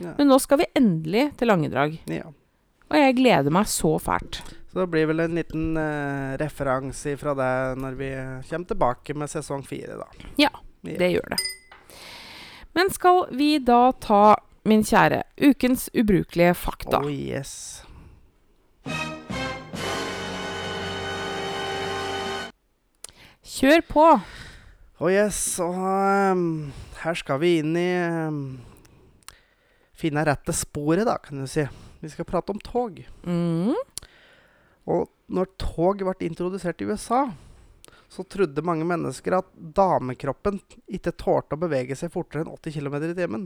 Speaker 1: Ja.
Speaker 2: Men nå skal vi endelig til Langedrag,
Speaker 1: ja.
Speaker 2: og jeg gleder meg så fælt.
Speaker 1: Så det blir vel en liten eh, referanse fra det når vi kommer tilbake med sesong fire, da.
Speaker 2: Ja,
Speaker 1: Ja.
Speaker 2: Det gjør det. Men skal vi da ta, min kjære, ukens ubrukelige fakta?
Speaker 1: Oh yes.
Speaker 2: Kjør på!
Speaker 1: Oh yes, og ehm, her skal vi inn i ehm, Finne rette sporet, da, kan du si. Vi skal prate om tog.
Speaker 2: Mm.
Speaker 1: Og når tog ble introdusert i USA, så trodde mange mennesker at damekroppen ikke tålte å bevege seg fortere enn 80 km i timen.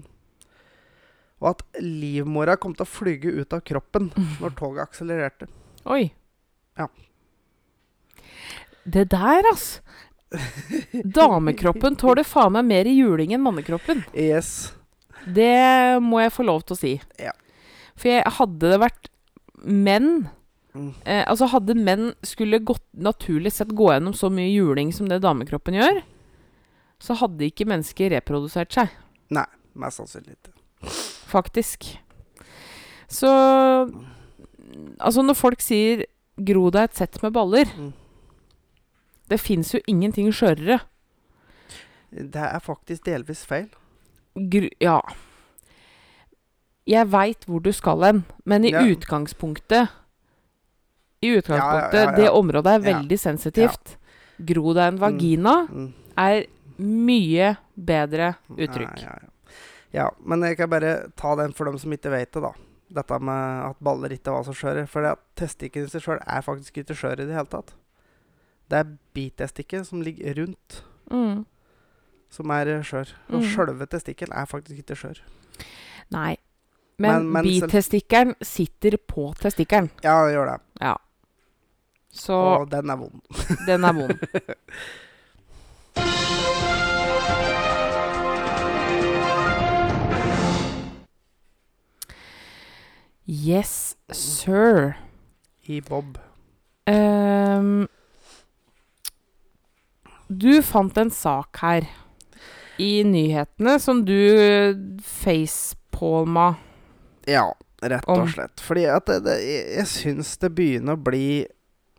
Speaker 1: Og at livmora kom til å flyge ut av kroppen når toget akselererte.
Speaker 2: Oi.
Speaker 1: Ja.
Speaker 2: Det der, altså. Damekroppen tåler faen meg mer juling enn mannekroppen.
Speaker 1: Yes.
Speaker 2: Det må jeg få lov til å si.
Speaker 1: Ja.
Speaker 2: For jeg hadde det vært menn
Speaker 1: Mm.
Speaker 2: eh, Altså hadde menn skulle gått, naturlig sett gå gjennom så mye juling som det damekroppen gjør, så hadde ikke mennesker reprodusert seg,
Speaker 1: Mest sannsynlig ikke.
Speaker 2: faktisk. Så Altså, når folk sier 'gro deg et sett med baller'
Speaker 1: Mm.
Speaker 2: Det fins jo ingenting skjørere.
Speaker 1: Det er faktisk delvis feil.
Speaker 2: Gr ja. Jeg veit hvor du skal hen, men i
Speaker 1: Ja.
Speaker 2: utgangspunktet I utgangspunktet,
Speaker 1: ja, ja.
Speaker 2: det området er
Speaker 1: Ja.
Speaker 2: veldig sensitivt. Gro deg en vagina
Speaker 1: Mm.
Speaker 2: er mye bedre uttrykk.
Speaker 1: Ja, ja, ja. ja, men jeg kan bare ta den for dem som ikke vet det, da. Dette med at baller ikke var så skjøre. For det at testikkelen i seg sjøl er faktisk ikke skjør i det hele tatt. Det er bitestikket som ligger rundt,
Speaker 2: Mm.
Speaker 1: som er eh, skjør. Og
Speaker 2: Mm.
Speaker 1: sjølve testikkelen er faktisk ikke skjør.
Speaker 2: Nei.
Speaker 1: Men-
Speaker 2: Men,
Speaker 1: men selv-
Speaker 2: bitestikkeren sitter på testikkelen,
Speaker 1: Ja, det gjør det.
Speaker 2: så
Speaker 1: Og den er vond.
Speaker 2: den er vond. Yes, sir.
Speaker 1: I Bob.
Speaker 2: Ehm, du fant en sak her i nyhetene som du facepalma.
Speaker 1: Ja, rett
Speaker 2: Om-
Speaker 1: og slett. Fordi at det, det, jeg- jeg syns det begynner å bli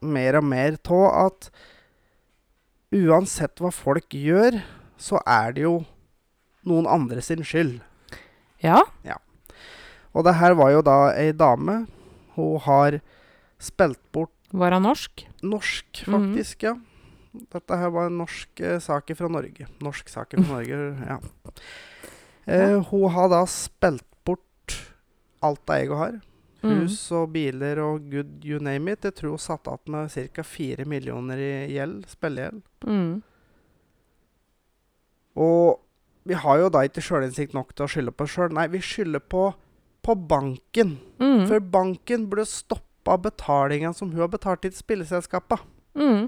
Speaker 1: mer og mer tå at uansett hva folk gjør, så er det jo noen andre sin skyld.
Speaker 2: Ja.
Speaker 1: Og det her var jo da ei dame. Hun har spilt bort
Speaker 2: Var han norsk?
Speaker 1: norsk,
Speaker 2: Mhm.
Speaker 1: faktisk, ja. Dette her var en norsk eh, sak fra Norge. Norsk sak fra Norge, ja. Eh, hun har da spilt bort alt det jeg har.
Speaker 2: Mm.
Speaker 1: Hus og biler og good you name it. Jeg tror hun satt igjen med ca. 4 millioner i gjeld, spillegjeld.
Speaker 2: Mm.
Speaker 1: Og vi har jo da ikke sjølinnsikt nok til å skylde på oss sjøl. Nei, vi skylder på, på banken.
Speaker 2: Mm.
Speaker 1: For banken burde stoppa betalinga som hun har betalt til spilleselskapa.
Speaker 2: Mm.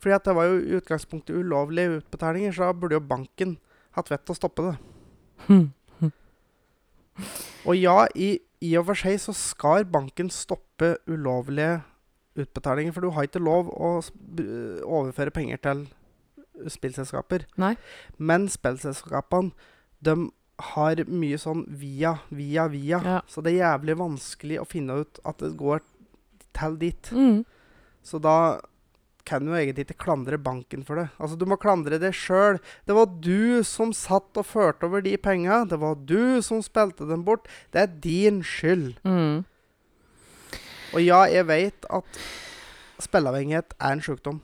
Speaker 1: Fordi at det var jo i utgangspunktet ulovlige utbetalinger, så da burde jo banken hatt vett til å stoppe det.
Speaker 2: Hm.
Speaker 1: Og ja, i, i og for seg så skal banken stoppe ulovlige utbetalinger, for du har ikke lov å s- b- overføre penger til spillselskaper.
Speaker 2: Nei.
Speaker 1: Men spillselskapene, de har mye sånn via, via, via.
Speaker 2: Ja.
Speaker 1: Så det er jævlig vanskelig å finne ut at det går til dit.
Speaker 2: Mm.
Speaker 1: Så da kan du egentlig ikke klandre banken for det. Altså, du må klandre deg sjøl. Det var du som satt og førte over de penga. Det var du som spilte dem bort. Det er din skyld.
Speaker 2: Mm.
Speaker 1: Og ja, jeg veit at spilleavhengighet er en sjukdom.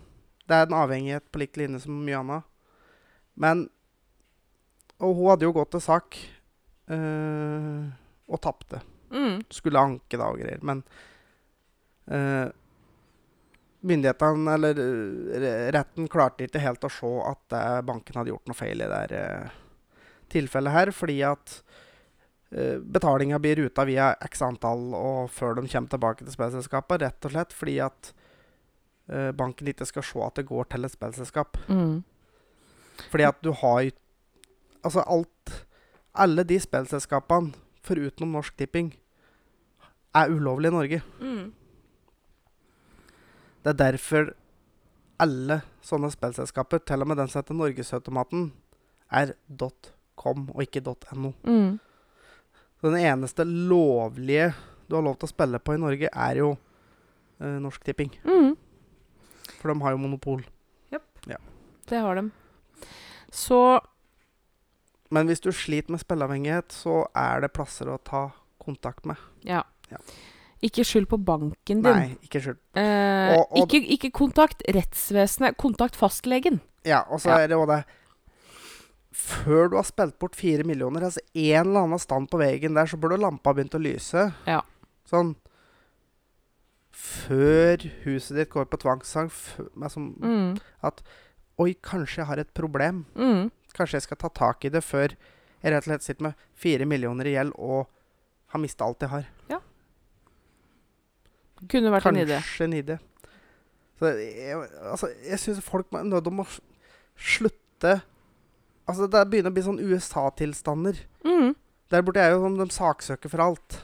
Speaker 1: Det er en avhengighet på lik linje som mye annet. Men Og hun hadde jo gått til sak eh, og tapte.
Speaker 2: Mm.
Speaker 1: Skulle anke da og greier, men eh, Myndighetene, eller eh, re- retten, klarte ikke helt å se at eh, banken hadde gjort noe feil i det her, eh, tilfellet her, fordi at uh, betalinga blir ruta via x antall og før de kommer tilbake til spillselskapet, rett og slett fordi at eh, banken ikke skal se at det går til et spillselskap.
Speaker 2: Mm.
Speaker 1: Fordi at du har jo- Altså alt Alle de spillselskapene forutenom Norsk Tipping er ulovlige i Norge.
Speaker 2: Mm.
Speaker 1: Det er derfor alle sånne spillselskaper, til og med den som heter Norgesautomaten, er .com og ikke .no.
Speaker 2: Mm.
Speaker 1: Så den eneste lovlige du har lov til å spille på i Norge, er jo eh, Norsk Tipping.
Speaker 2: Mm.
Speaker 1: For de har jo monopol.
Speaker 2: Det har de. Så
Speaker 1: Men hvis du sliter med spilleavhengighet, så er det plasser å ta kontakt med.
Speaker 2: Ja.
Speaker 1: Ja.
Speaker 2: Ikke skyld på banken din.
Speaker 1: Nei, ikke skyld.
Speaker 2: Eh,
Speaker 1: Og- og-
Speaker 2: ikke, ikke kontakt rettsvesenet, kontakt fastlegen.
Speaker 1: Ja, og så
Speaker 2: Ja.
Speaker 1: er det jo det Før du har spilt bort fire millioner, altså en eller annen stand på veggen der, så burde lampa begynt å lyse.
Speaker 2: Ja.
Speaker 1: Sånn Før huset ditt går på tvangssang. fø- Altså,
Speaker 2: Mm.
Speaker 1: Oi, kanskje jeg har et problem.
Speaker 2: Mm.
Speaker 1: Kanskje jeg skal ta tak i det før jeg rett og slett sitter med fire millioner i gjeld og har mista alt jeg har.
Speaker 2: Kunne vært en idé.
Speaker 1: Kanskje en idé. Så jeg, altså, jeg syns folk må nødt om å s- slutte Altså, det begynner å bli sånn USA-tilstander.
Speaker 2: Mm.
Speaker 1: Der borte er jo sånn de saksøker for alt.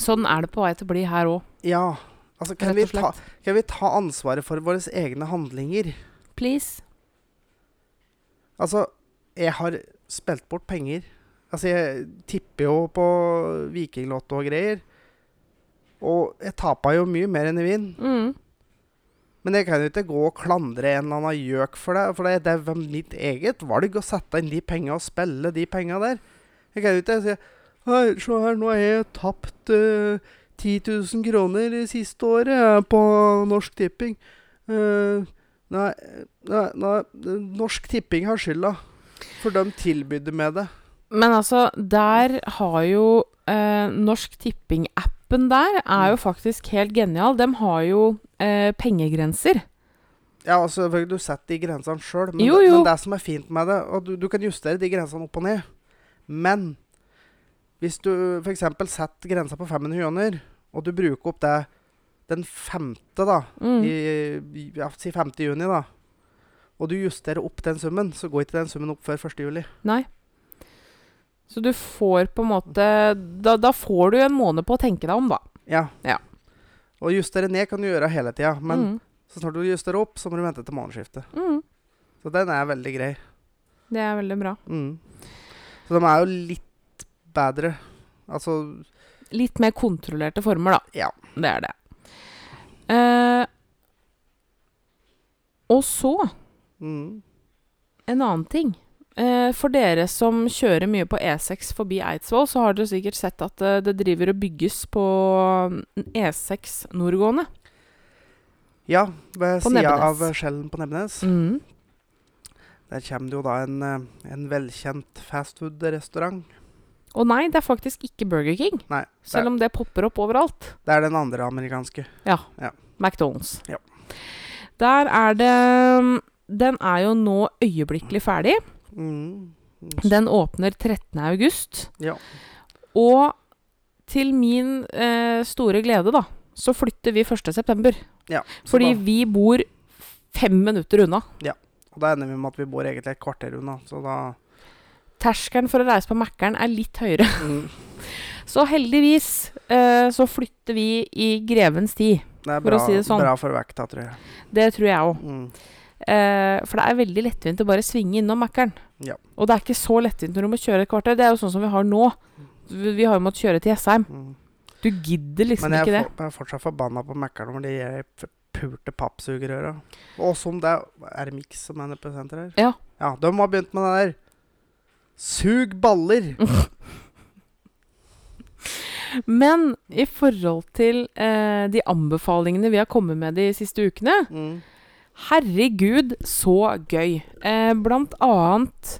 Speaker 2: Sånn er det på vei til å bli her òg.
Speaker 1: Ja. Altså, kan
Speaker 2: Rett
Speaker 1: vi,
Speaker 2: og
Speaker 1: ta, kan vi ta ansvaret for våre egne handlinger?
Speaker 2: Please.
Speaker 1: Altså, jeg har spilt bort penger. Altså, jeg tipper jo på vikinglotto og greier. Og jeg tapa jo mye mer enn jeg vinner.
Speaker 2: Mm.
Speaker 1: Men jeg kan jo ikke gå og klandre en eller annen gjøk for det, for det, det var mitt eget valg å sette inn de penga og spille de penga der. Jeg kan jo ikke si Hei, se her, nå har jeg tapt eh, 10 000 kroner det siste året eh, på Norsk Tipping. Eh, nei, eh, nei, nei, Norsk Tipping har skylda, for de tilbydde med det.
Speaker 2: Men altså, der har jo eh, Norsk Tipping-appen der er
Speaker 1: Mm.
Speaker 2: jo faktisk helt genial. De har jo eh, pengegrenser.
Speaker 1: Ja, altså, selvfølgelig, du setter de grensene sjøl, men,
Speaker 2: Jo, jo.
Speaker 1: men det som er fint med det Og du, du kan justere de grensene opp og ned, men hvis du f.eks. setter grensa på 500 kroner, og du bruker opp det den femte, da,
Speaker 2: Mm.
Speaker 1: i, ja, si 5. juni, da, og du justerer opp den summen, så går ikke den summen opp før 1. juli.
Speaker 2: Nei. Så du får på en måte da, da får du en måned på å tenke deg om, da.
Speaker 1: Ja.
Speaker 2: Ja.
Speaker 1: Og justere ned kan du gjøre hele tida, men
Speaker 2: Mm.
Speaker 1: så snart du justerer opp, så må du vente til månedsskiftet.
Speaker 2: Mm.
Speaker 1: Så den er veldig grei.
Speaker 2: Det er veldig bra.
Speaker 1: Mm. Så de er jo litt bedre. Altså
Speaker 2: Litt mer kontrollerte former, da.
Speaker 1: Ja.
Speaker 2: Det er det. Eh, og så
Speaker 1: mm.
Speaker 2: en annen ting. Eh, for dere som kjører mye på E6 forbi Eidsvoll, så har dere sikkert sett at eh, det driver og bygges på mm, E6 nordgående.
Speaker 1: Ja, ved
Speaker 2: På
Speaker 1: sida
Speaker 2: Nebbenes.
Speaker 1: av skjellen på Nebbenes.
Speaker 2: Mm.
Speaker 1: Der kommer det jo da en, eh, en velkjent fastfood-restaurant.
Speaker 2: Og nei, det er faktisk ikke Burger King,
Speaker 1: Nei, det
Speaker 2: selv
Speaker 1: er,
Speaker 2: om det popper opp overalt.
Speaker 1: det er den andre amerikanske.
Speaker 2: McDonald's.
Speaker 1: Ja.
Speaker 2: Der er det mm, Den er jo nå øyeblikkelig ferdig.
Speaker 1: Mm.
Speaker 2: Den åpner 13. august.
Speaker 1: Ja.
Speaker 2: Og til min eh, store glede, da, så flytter vi 1. september.
Speaker 1: Ja, så
Speaker 2: Fordi
Speaker 1: da,
Speaker 2: vi bor fem minutter unna.
Speaker 1: og da ender vi med at vi bor egentlig et kvarter unna, så da
Speaker 2: Terskelen for å reise på Mækkern er litt høyere.
Speaker 1: mm.
Speaker 2: Så heldigvis eh, så flytter vi i grevens tid.
Speaker 1: Det er
Speaker 2: For å
Speaker 1: bra,
Speaker 2: si det sånn.
Speaker 1: bra for vekta, tror jeg.
Speaker 2: Det tror jeg òg.
Speaker 1: Mm.
Speaker 2: Eh, for det er veldig lettvint å bare svinge innom Mækkern.
Speaker 1: Ja.
Speaker 2: Og det er ikke så lettvint når du må kjøre et kvarter. Det er jo sånn som vi har nå. Vi vi har jo måttet kjøre til Jessheim.
Speaker 1: Mm.
Speaker 2: Du gidder liksom
Speaker 1: Men jeg
Speaker 2: ikke
Speaker 1: er,
Speaker 2: det.
Speaker 1: for, jeg er fortsatt forbanna på Mækkern over de her f- pulte pappsugerøra. Og som det Er det Mix som er representanter her?
Speaker 2: Ja.
Speaker 1: ja. De har begynt med det der. Sug baller!
Speaker 2: Men i forhold til eh, de anbefalingene vi har kommet med de siste ukene
Speaker 1: Mm.
Speaker 2: Herregud, så gøy! Eh, blant annet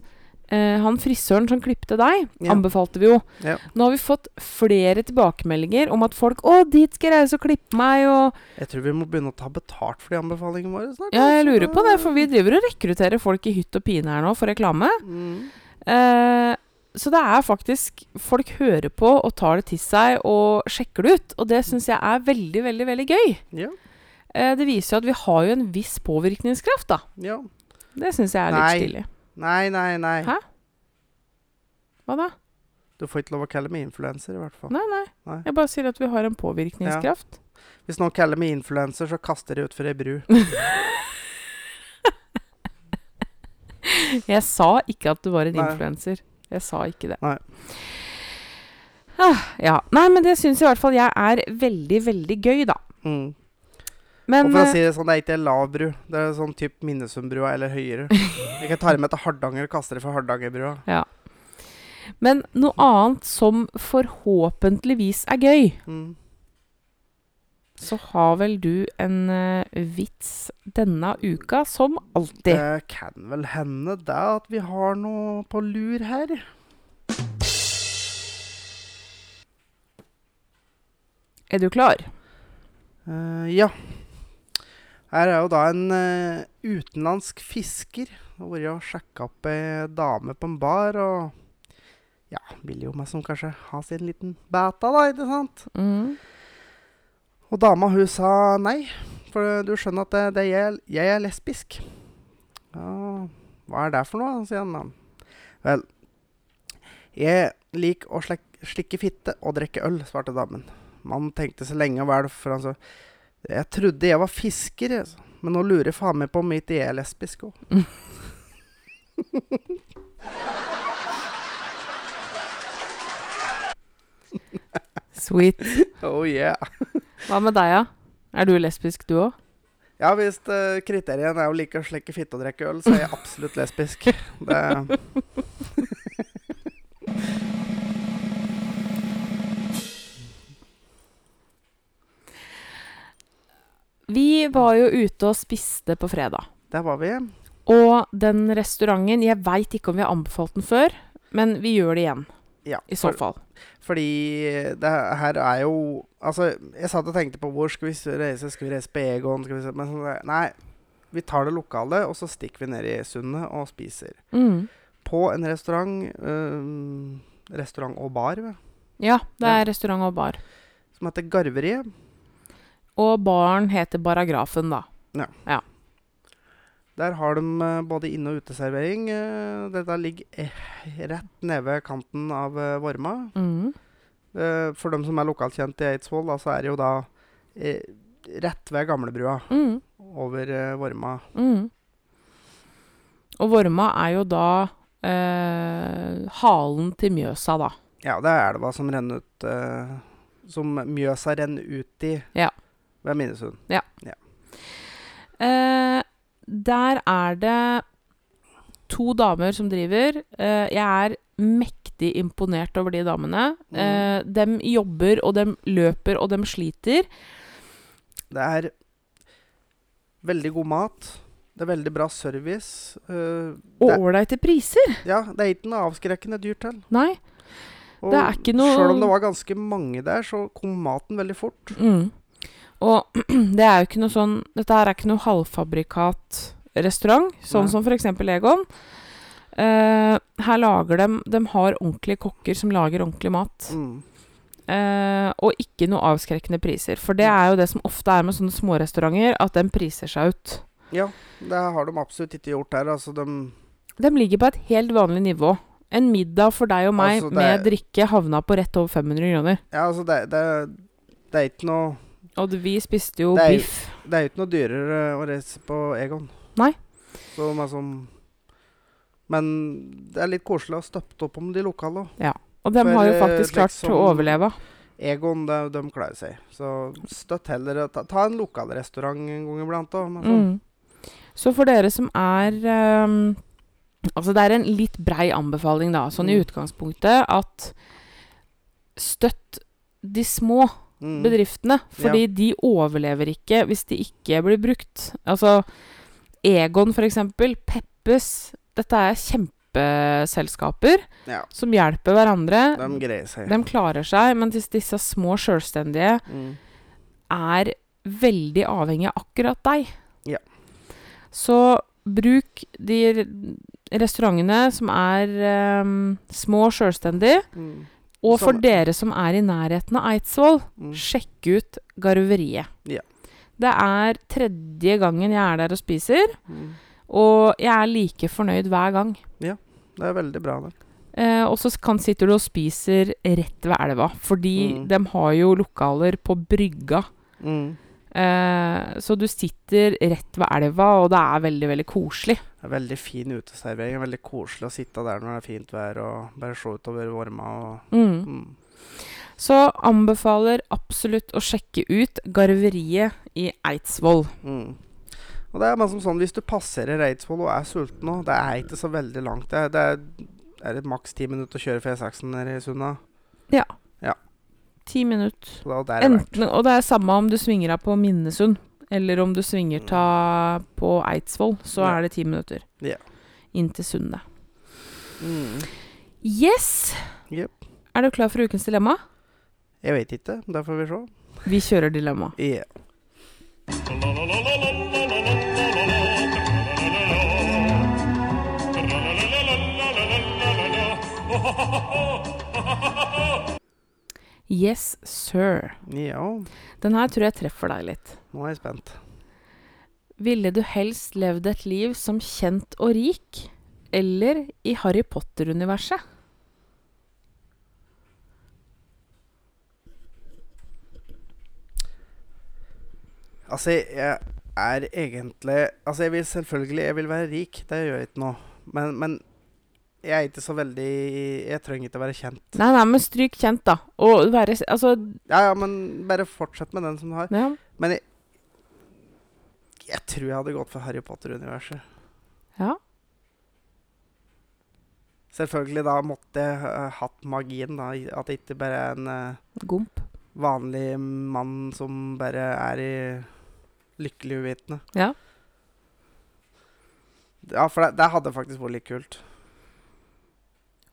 Speaker 2: eh, han frisøren som klipte deg,
Speaker 1: Ja.
Speaker 2: anbefalte vi jo.
Speaker 1: Ja.
Speaker 2: Nå har vi fått flere tilbakemeldinger om at folk 'Å, dit skal jeg reise og klippe meg', og
Speaker 1: Jeg tror vi må begynne å ta betalt for de anbefalingene våre snart.
Speaker 2: Ja, jeg
Speaker 1: altså.
Speaker 2: lurer på det, for vi driver og rekrutterer folk i hytt og pine her nå for reklame.
Speaker 1: Mm.
Speaker 2: Eh, så det er faktisk Folk hører på og tar det til seg og sjekker det ut. Og det syns jeg er veldig, veldig veldig gøy.
Speaker 1: Ja.
Speaker 2: Eh, det viser jo at vi har jo en viss påvirkningskraft, da.
Speaker 1: ja.
Speaker 2: Det syns jeg er litt
Speaker 1: Nei.
Speaker 2: stilig.
Speaker 1: Nei, nei, nei.
Speaker 2: Hæ? Hva da?
Speaker 1: Du får ikke lov å kalle meg influenser, i hvert fall.
Speaker 2: Nei, nei.
Speaker 1: Nei.
Speaker 2: Jeg bare sier at vi har en påvirkningskraft.
Speaker 1: Hvis noen kaller meg influenser, så kaster de utfor ei bru.
Speaker 2: Jeg sa ikke at du var en
Speaker 1: Nei.
Speaker 2: influenser. Jeg sa ikke det.
Speaker 1: Nei.
Speaker 2: Ah, ja. Nei, men det syns i hvert fall jeg er veldig, veldig gøy, da.
Speaker 1: Mm.
Speaker 2: Men
Speaker 1: Og for å
Speaker 2: eh,
Speaker 1: si det sånn, det er ikke ei lav bru. Det er sånn typ Minnesundbrua eller høyere. Jeg kan ta det med til Hardanger og kaste det for Hardangerbrua.
Speaker 2: eh, Men noe annet som forhåpentligvis er gøy,
Speaker 1: Mm.
Speaker 2: så har vel du en eh, vits denne uka, som alltid.
Speaker 1: Det kan vel hende det at vi har noe på lur her.
Speaker 2: Er du klar?
Speaker 1: Eh, ja. Her er jo da en eh, utenlandsk fisker. Hvor jeg har sjekka opp ei dame på en bar, og ja, vil jo meg som kanskje ha sin liten beta, da, ikke sant?
Speaker 2: Mm.
Speaker 1: Og dama hun sa nei, for du skjønner at det, det er jeg, jeg er lesbisk. Ja, hva er det for noe, sier han da. Vel, jeg liker å slek, slikke fitte og drikke øl, svarte damen. Mannen tenkte så lenge og vel, for han sa jeg trodde jeg var fisker, jeg, sa. men nå lurer jeg faen meg på om ikke jeg er lesbisk òg.
Speaker 2: Sweet.
Speaker 1: Oh yeah.
Speaker 2: Hva med deg, da? Er du lesbisk, du òg?
Speaker 1: Ja, hvis eh, kriteriene er å like å slikke fitte og drikke øl, så er jeg absolutt lesbisk. Det,
Speaker 2: Vi var jo ute og spiste på fredag.
Speaker 1: der var vi.
Speaker 2: Og den restauranten Jeg veit ikke om vi har anbefalt den før, men vi gjør det igjen.
Speaker 1: Ja,
Speaker 2: I så
Speaker 1: for-
Speaker 2: fall.
Speaker 1: Fordi det her er jo Altså, jeg satt og tenkte på hvor skal vi s- reise? Skal vi reise på Egon? Skal vi se, men så, nei, vi tar det lokale, og så stikker vi ned i sundet og spiser.
Speaker 2: Mm.
Speaker 1: På en restaurant øhm, Restaurant og bar, vel,
Speaker 2: Ja, det
Speaker 1: Ja.
Speaker 2: er restaurant og bar.
Speaker 1: som heter Garveriet.
Speaker 2: Og baren heter Baragrafen, da.
Speaker 1: Der har de eh, både inne- og uteservering. eh, Dette ligger eh, rett nede ved kanten av eh, Vorma.
Speaker 2: Mm.
Speaker 1: Eh, For dem som er lokalt kjent i Eidsvoll, da, så er det jo da eh, rett ved gamlebrua
Speaker 2: Mm.
Speaker 1: over eh, Vorma.
Speaker 2: Mm. Og Vorma er jo da eh, halen til Mjøsa, da.
Speaker 1: Ja, det er elva som renner ut eh, Som Mjøsa renner ut i
Speaker 2: Ja.
Speaker 1: ved Minnesund.
Speaker 2: Eh, der er det to damer som driver. Eh, jeg er mektig imponert over de damene.
Speaker 1: Mm.
Speaker 2: Eh, dem jobber, og dem løper, og dem sliter.
Speaker 1: Det er veldig god mat. Det er veldig bra service. eh,
Speaker 2: Og
Speaker 1: Det-
Speaker 2: ålreite priser!
Speaker 1: ja, det er ikke noe avskrekkende dyrt til.
Speaker 2: Nei.
Speaker 1: Og
Speaker 2: Det er ikke noe-
Speaker 1: Selv om det var ganske mange der, så kom maten veldig fort.
Speaker 2: Mm. Og det er jo ikke noe sånn Dette her er ikke noe halvfabrikat-restaurant, sånn
Speaker 1: Nei.
Speaker 2: som f.eks. Egon. Eh, her lager de De har ordentlige kokker som lager ordentlig mat.
Speaker 1: Mm.
Speaker 2: Eh, og ikke noe avskrekkende priser. For det er jo det som ofte er med sånne smårestauranter, at de priser seg ut.
Speaker 1: Ja, det har de absolutt ikke gjort der. Altså, de
Speaker 2: De ligger på et helt vanlig nivå. En middag for deg og meg
Speaker 1: Altså, det-
Speaker 2: med drikke havna på rett over 500 kroner.
Speaker 1: Ja, altså det, det, det er ikke noe
Speaker 2: Og vi spiste jo
Speaker 1: Det er jo-
Speaker 2: biff.
Speaker 1: Det er jo ikke noe dyrere eh, å reise på Egon.
Speaker 2: Nei.
Speaker 1: Så man som Men det er litt koselig å ha støpt opp om de lokale òg.
Speaker 2: Og de
Speaker 1: for,
Speaker 2: har jo
Speaker 1: eh,
Speaker 2: faktisk klart å
Speaker 1: liksom-
Speaker 2: overleve.
Speaker 1: Egon, de, de klarer seg. Så støtt heller Ta, ta en lokalrestaurant en gang iblant sånn. òg.
Speaker 2: Mm. Så for dere som er ehm, Altså, det er en litt brei anbefaling, da, sånn i
Speaker 1: Mm.
Speaker 2: utgangspunktet, at støtt de små Mm.
Speaker 1: Mm.
Speaker 2: bedriftene. Fordi de overlever ikke hvis de ikke blir brukt. Altså Egon, for eksempel. Peppes. Dette er kjempeselskaper
Speaker 1: Ja.
Speaker 2: som hjelper hverandre.
Speaker 1: De greier seg.
Speaker 2: De klarer seg, men dis- disse små sjølstendige
Speaker 1: Mm.
Speaker 2: er veldig avhengig av akkurat deg.
Speaker 1: Ja.
Speaker 2: Så bruk de r- restaurantene som er ehm, små og sjølstendige,
Speaker 1: Mm.
Speaker 2: og for
Speaker 1: Samme.
Speaker 2: dere som er i nærheten av Eidsvoll,
Speaker 1: Mm.
Speaker 2: sjekk ut Garveriet.
Speaker 1: Ja.
Speaker 2: Det er tredje gangen jeg er der og spiser,
Speaker 1: Mm.
Speaker 2: og jeg er like fornøyd hver gang.
Speaker 1: Det er veldig bra, det.
Speaker 2: Eh, og så kan- sitter du og spiser rett ved elva, fordi
Speaker 1: Mm.
Speaker 2: de har jo lokaler på brygga.
Speaker 1: Mm.
Speaker 2: Eh, så du sitter rett ved elva, og det er veldig, veldig koselig.
Speaker 1: Det er Veldig fin uteservering. Veldig koselig å sitte der når det er fint vær og bare se utover varma og
Speaker 2: Mm.
Speaker 1: mm.
Speaker 2: Så anbefaler absolutt å sjekke ut Garveriet i Eidsvoll.
Speaker 1: Mm. Og det er liksom sånn, Hvis du passerer Eidsvoll og er sulten nå, det er ikke så veldig langt. Det er, det er, er det maks ti minutter å kjøre fra E6-en ned i Sunna.
Speaker 2: Ti minutter.
Speaker 1: Så da, der er det verdt.
Speaker 2: Enten, og det er samme om du svinger av på Minnesund, eller om du svinger ta på Eidsvoll, så
Speaker 1: Ja.
Speaker 2: er det ti minutter.
Speaker 1: Ja.
Speaker 2: Inn til Sundet.
Speaker 1: Mm.
Speaker 2: Yes!
Speaker 1: Jep.
Speaker 2: Er du klar for ukens dilemma?
Speaker 1: Jeg vet ikke. Der får vi se.
Speaker 2: Vi kjører dilemma.
Speaker 1: Ja.
Speaker 2: Yes, sir.
Speaker 1: Ja,
Speaker 2: Den her tror jeg treffer deg litt.
Speaker 1: nå er jeg spent.
Speaker 2: Ville du helst levd et liv som kjent og rik, eller i Harry Potter-universet?
Speaker 1: Altså, jeg er egentlig Altså, jeg vil selvfølgelig jeg vil være rik. Det gjør jeg ikke nå. Men, men jeg er ikke så veldig Jeg trenger ikke å være kjent.
Speaker 2: Nei, nei, men stryk kjent, da. Og være Altså,
Speaker 1: Ja, ja, men bare fortsett med den som du har.
Speaker 2: ja.
Speaker 1: Men jeg, jeg tror jeg hadde gått for Harry Potter-universet.
Speaker 2: ja.
Speaker 1: Selvfølgelig da måtte jeg eh, hatt magien, da. i- At det ikke bare er en eh,
Speaker 2: Gomp.
Speaker 1: vanlig mann som bare er i lykkelig uvitende.
Speaker 2: Ja.
Speaker 1: Ja, for det, det hadde faktisk vært litt kult.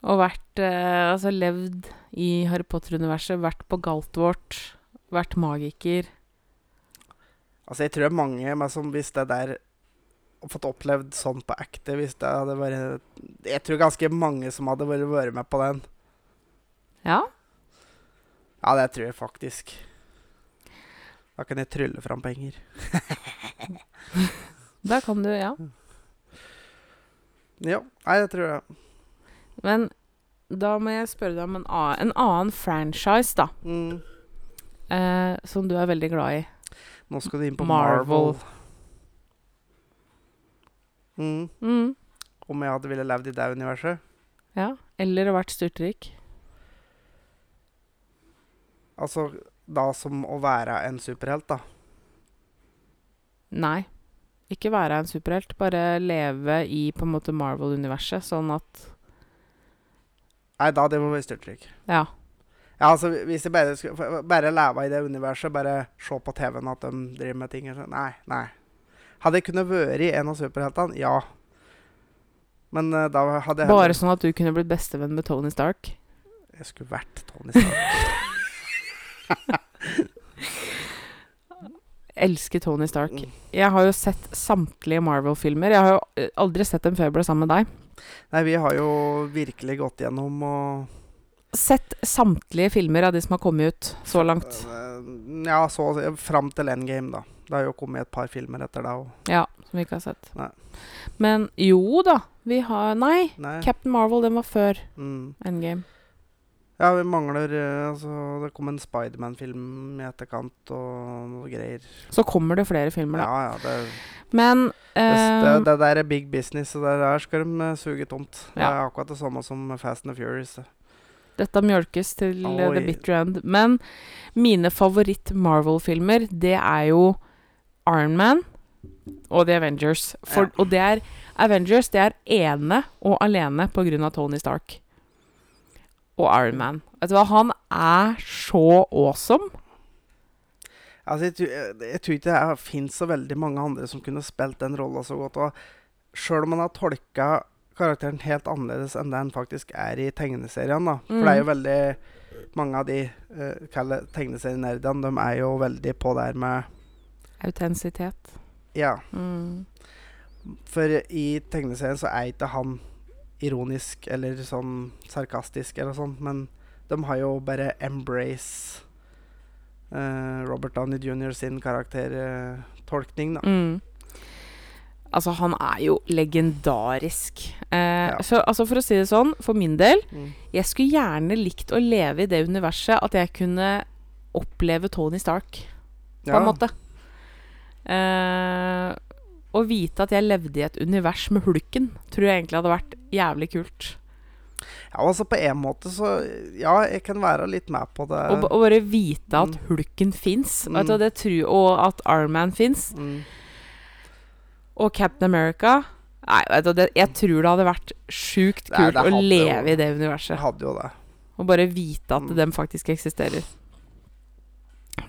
Speaker 2: Og vært eh, Altså levd i Harry Potter-universet, vært på Galtvort, vært magiker.
Speaker 1: Altså, jeg tror mange meg som hvis det der og fått opplevd sånn på ekte hvis det hadde vært Jeg tror ganske mange som hadde vært, vært med på den.
Speaker 2: Ja.
Speaker 1: Ja, det tror jeg faktisk. Da kan jeg trylle fram penger.
Speaker 2: Da kan du Ja.
Speaker 1: Ja, nei, det tror jeg.
Speaker 2: Men da må jeg spørre deg om en annen, en annen franchise, da.
Speaker 1: Mm.
Speaker 2: Eh, som du er veldig glad i.
Speaker 1: Nå skal du inn på
Speaker 2: Marvel.
Speaker 1: Marvel. Mm.
Speaker 2: Mm.
Speaker 1: Om jeg hadde ville levd i det universet?
Speaker 2: Ja. Eller vært styrtrik.
Speaker 1: Altså da som å være en superhelt, da.
Speaker 2: Nei. Ikke være en superhelt, bare leve i på en måte Marvel-universet, sånn at
Speaker 1: Nei, da det må være styrtrik.
Speaker 2: Ja.
Speaker 1: Ja, altså hvis jeg bare skulle Bare leve i det universet, bare se på TV-en at de driver med ting og sånn. Nei, nei. Hadde jeg kunnet være en av superheltene? Ja. Men eh, da hadde jeg
Speaker 2: Bare sånn at du kunne blitt bestevenn med Tony Stark.
Speaker 1: Jeg skulle vært Tony Stark.
Speaker 2: Elsker Tony Stark.
Speaker 1: Mm.
Speaker 2: Jeg har jo sett samtlige Marvel-filmer. Jeg har jo eh, aldri sett en før jeg ble sammen med deg.
Speaker 1: Nei, vi har jo virkelig gått gjennom og
Speaker 2: Sett samtlige filmer av de som har kommet ut så langt.
Speaker 1: Eh, Ja, så fram til endgame, da. Det har jo kommet et par filmer etter det òg.
Speaker 2: Ja, som vi ikke har sett.
Speaker 1: Nei.
Speaker 2: Men jo da, vi har Nei,
Speaker 1: Nei.
Speaker 2: Captain Marvel, den var før
Speaker 1: Mm.
Speaker 2: Endgame.
Speaker 1: Ja, vi mangler eh, altså, Det kom en Spiderman-film i etterkant og noe greier.
Speaker 2: Så kommer det flere filmer,
Speaker 1: Ja,
Speaker 2: da.
Speaker 1: ja, det,
Speaker 2: Men
Speaker 1: det, det,
Speaker 2: eh,
Speaker 1: det der er big business, og det der skal de eh, suge tomt. Det
Speaker 2: Ja.
Speaker 1: er akkurat det samme som Fast and the Furious. det.
Speaker 2: Dette mjølkes til eh, the
Speaker 1: Oi.
Speaker 2: bitter end. Men mine favoritt-Marvel-filmer, det er jo Iron Man og The Avengers. For,
Speaker 1: Ja.
Speaker 2: Og det er Avengers det er ene og alene på grunn av Tony Stark. Og Iron Man. Vet du hva, han er så awesome.
Speaker 1: Altså, jeg, tror- jeg, jeg tror ikke det fins så veldig mange andre som kunne spilt den rolla så godt. Og sjøl om han har tolka karakteren helt annerledes enn det han faktisk er i tegneserien, da. For det er jo veldig mange av de eh, kalle tegneserienerdene, de er jo veldig på der med
Speaker 2: Autentisitet.
Speaker 1: Ja.
Speaker 2: Mm.
Speaker 1: For i tegneserien så er ikke han ironisk eller sånn sarkastisk eller sånn, men de har jo bare embrace eh, Robert Downey Jr. sin karaktertolkning, da.
Speaker 2: Mm. Altså, han er jo legendarisk. Eh,
Speaker 1: Ja.
Speaker 2: Så altså, for å si det sånn, for min del
Speaker 1: Mm.
Speaker 2: Jeg skulle gjerne likt å leve i det universet at jeg kunne oppleve Tony Stark, på en måte. Eh, Å vite at jeg levde i et univers med hulken, tror jeg egentlig hadde vært jævlig kult.
Speaker 1: ja, altså på en måte så Ja, jeg kan være litt med på det.
Speaker 2: Å b- å bare vite at
Speaker 1: Mm.
Speaker 2: hulken fins,
Speaker 1: Mm.
Speaker 2: og at Arman fins,
Speaker 1: Mm.
Speaker 2: og Captain America Nei, vet du, det, jeg tror det hadde vært sjukt
Speaker 1: Nei,
Speaker 2: kult
Speaker 1: det
Speaker 2: å
Speaker 1: hadde
Speaker 2: leve
Speaker 1: jo-
Speaker 2: i det
Speaker 1: Jeg
Speaker 2: universet.
Speaker 1: hadde jo det.
Speaker 2: Og bare vite at
Speaker 1: Mm.
Speaker 2: dem faktisk eksisterer.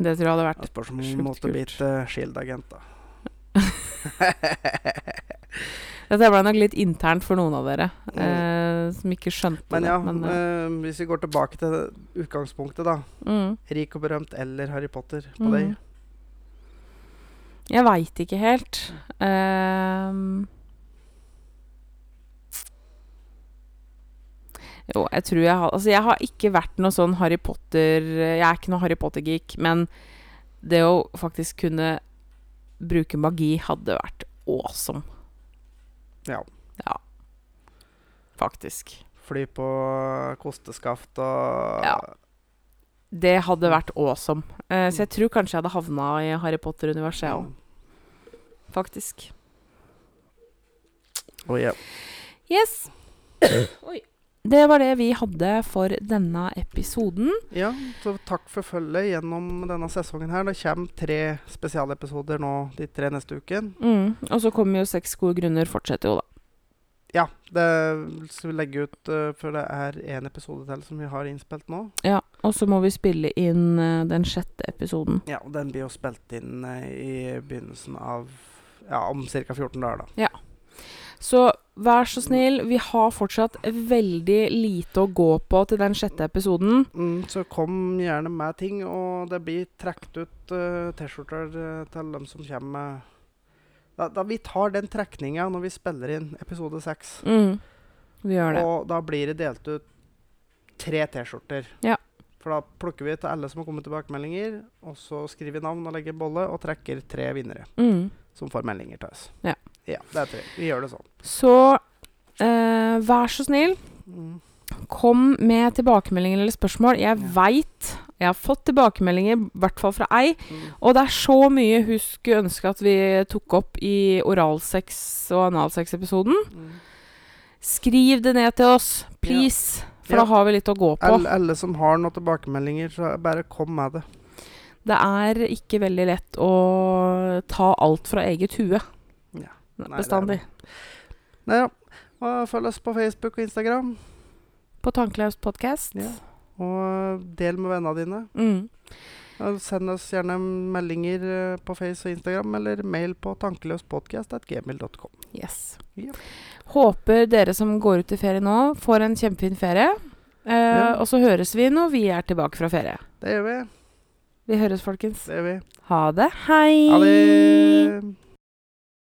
Speaker 2: Det tror jeg hadde vært
Speaker 1: Det spørs om
Speaker 2: Sjukt
Speaker 1: hun måtte
Speaker 2: kult.
Speaker 1: bli et eh, Shield-agent, da.
Speaker 2: Dette ble nok litt internt for noen av dere
Speaker 1: Mm.
Speaker 2: eh, som ikke skjønte
Speaker 1: Men ja,
Speaker 2: det. Men, eh,
Speaker 1: eh, hvis vi går tilbake til utgangspunktet, da.
Speaker 2: mm,
Speaker 1: Rik og berømt eller Harry Potter på
Speaker 2: mm.
Speaker 1: deg?
Speaker 2: Jeg veit ikke helt. Eh, Ehm, Jo, jeg tror jeg har Altså, jeg har ikke vært noe sånn Harry Potter Jeg er ikke noe Harry Potter-geek, men det å faktisk kunne bruke magi hadde vært awesome.
Speaker 1: Ja.
Speaker 2: Ja. Faktisk.
Speaker 1: Fly på kosteskaft og
Speaker 2: Ja. Det hadde vært awesome. Eh, så jeg tror kanskje jeg hadde havna i Harry Potter-universet,
Speaker 1: Mm.
Speaker 2: jeg òg. Faktisk.
Speaker 1: Oh, ja.
Speaker 2: Yes. Oi. Det var det vi hadde for denne episoden.
Speaker 1: ja, så takk for følget gjennom denne sesongen her. Det kommer tre spesialepisoder nå de tre neste uken.
Speaker 2: Mm. Og så kommer jo Seks gode grunner fortsetter jo, da.
Speaker 1: Ja, det skal vi legge ut, eh, for det er én episode til som vi har innspilt nå.
Speaker 2: Ja, Og så må vi spille inn eh, den sjette episoden.
Speaker 1: Ja, og den blir jo spilt inn eh, i begynnelsen av Ja, om ca. 14 dager, da.
Speaker 2: Så vær så snill, vi har fortsatt veldig lite å gå på til den sjette episoden.
Speaker 1: Mm, så kom gjerne med ting, og det blir trukket ut eh, T-skjorter eh, til dem som kommer med da, da Vi tar den trekninga når vi spiller inn episode seks.
Speaker 2: Mm. Vi gjør det.
Speaker 1: Og da blir det delt ut tre T-skjorter.
Speaker 2: Ja.
Speaker 1: For da plukker vi til alle som har kommet tilbakemeldinger, og så skriver vi navn og legger bolle, og trekker tre vinnere
Speaker 2: Mm.
Speaker 1: som får meldinger til oss.
Speaker 2: Ja.
Speaker 1: ja det er tre. Vi gjør det sånn.
Speaker 2: Så eh, vær så snill,
Speaker 1: Mm.
Speaker 2: Kom med tilbakemeldinger eller spørsmål. Jeg
Speaker 1: Ja.
Speaker 2: vet veit jeg har fått tilbakemeldinger, i hvert fall fra ei,
Speaker 1: Mm.
Speaker 2: og det er så mye hun skulle ønske at vi tok opp i oralsex- og analsex-episoden.
Speaker 1: Mm.
Speaker 2: Skriv det ned til oss, please, for
Speaker 1: Ja.
Speaker 2: da har vi litt å gå på.
Speaker 1: Alle, alle som har noen tilbakemeldinger, så bare kom med det.
Speaker 2: Det er ikke veldig lett å ta alt fra eget hue
Speaker 1: Ja. Nei, det er
Speaker 2: bestandig.
Speaker 1: Nei, ja. Og følg oss på Facebook og Instagram.
Speaker 2: På Tankelaust podcast.
Speaker 1: Ja. Og del med vennene dine.
Speaker 2: Mm.
Speaker 1: Og send oss gjerne meldinger eh, på Face og Instagram, eller mail på tankeløspodkast.gmil.com.
Speaker 2: Yes.
Speaker 1: Ja.
Speaker 2: Håper dere som går ut i ferie nå, får en kjempefin ferie. Eh,
Speaker 1: Ja.
Speaker 2: Og så høres vi når vi er tilbake fra ferie.
Speaker 1: Det gjør vi.
Speaker 2: Vi høres, folkens.
Speaker 1: Det gjør vi.
Speaker 2: Ha det. Hei!
Speaker 1: Ha det.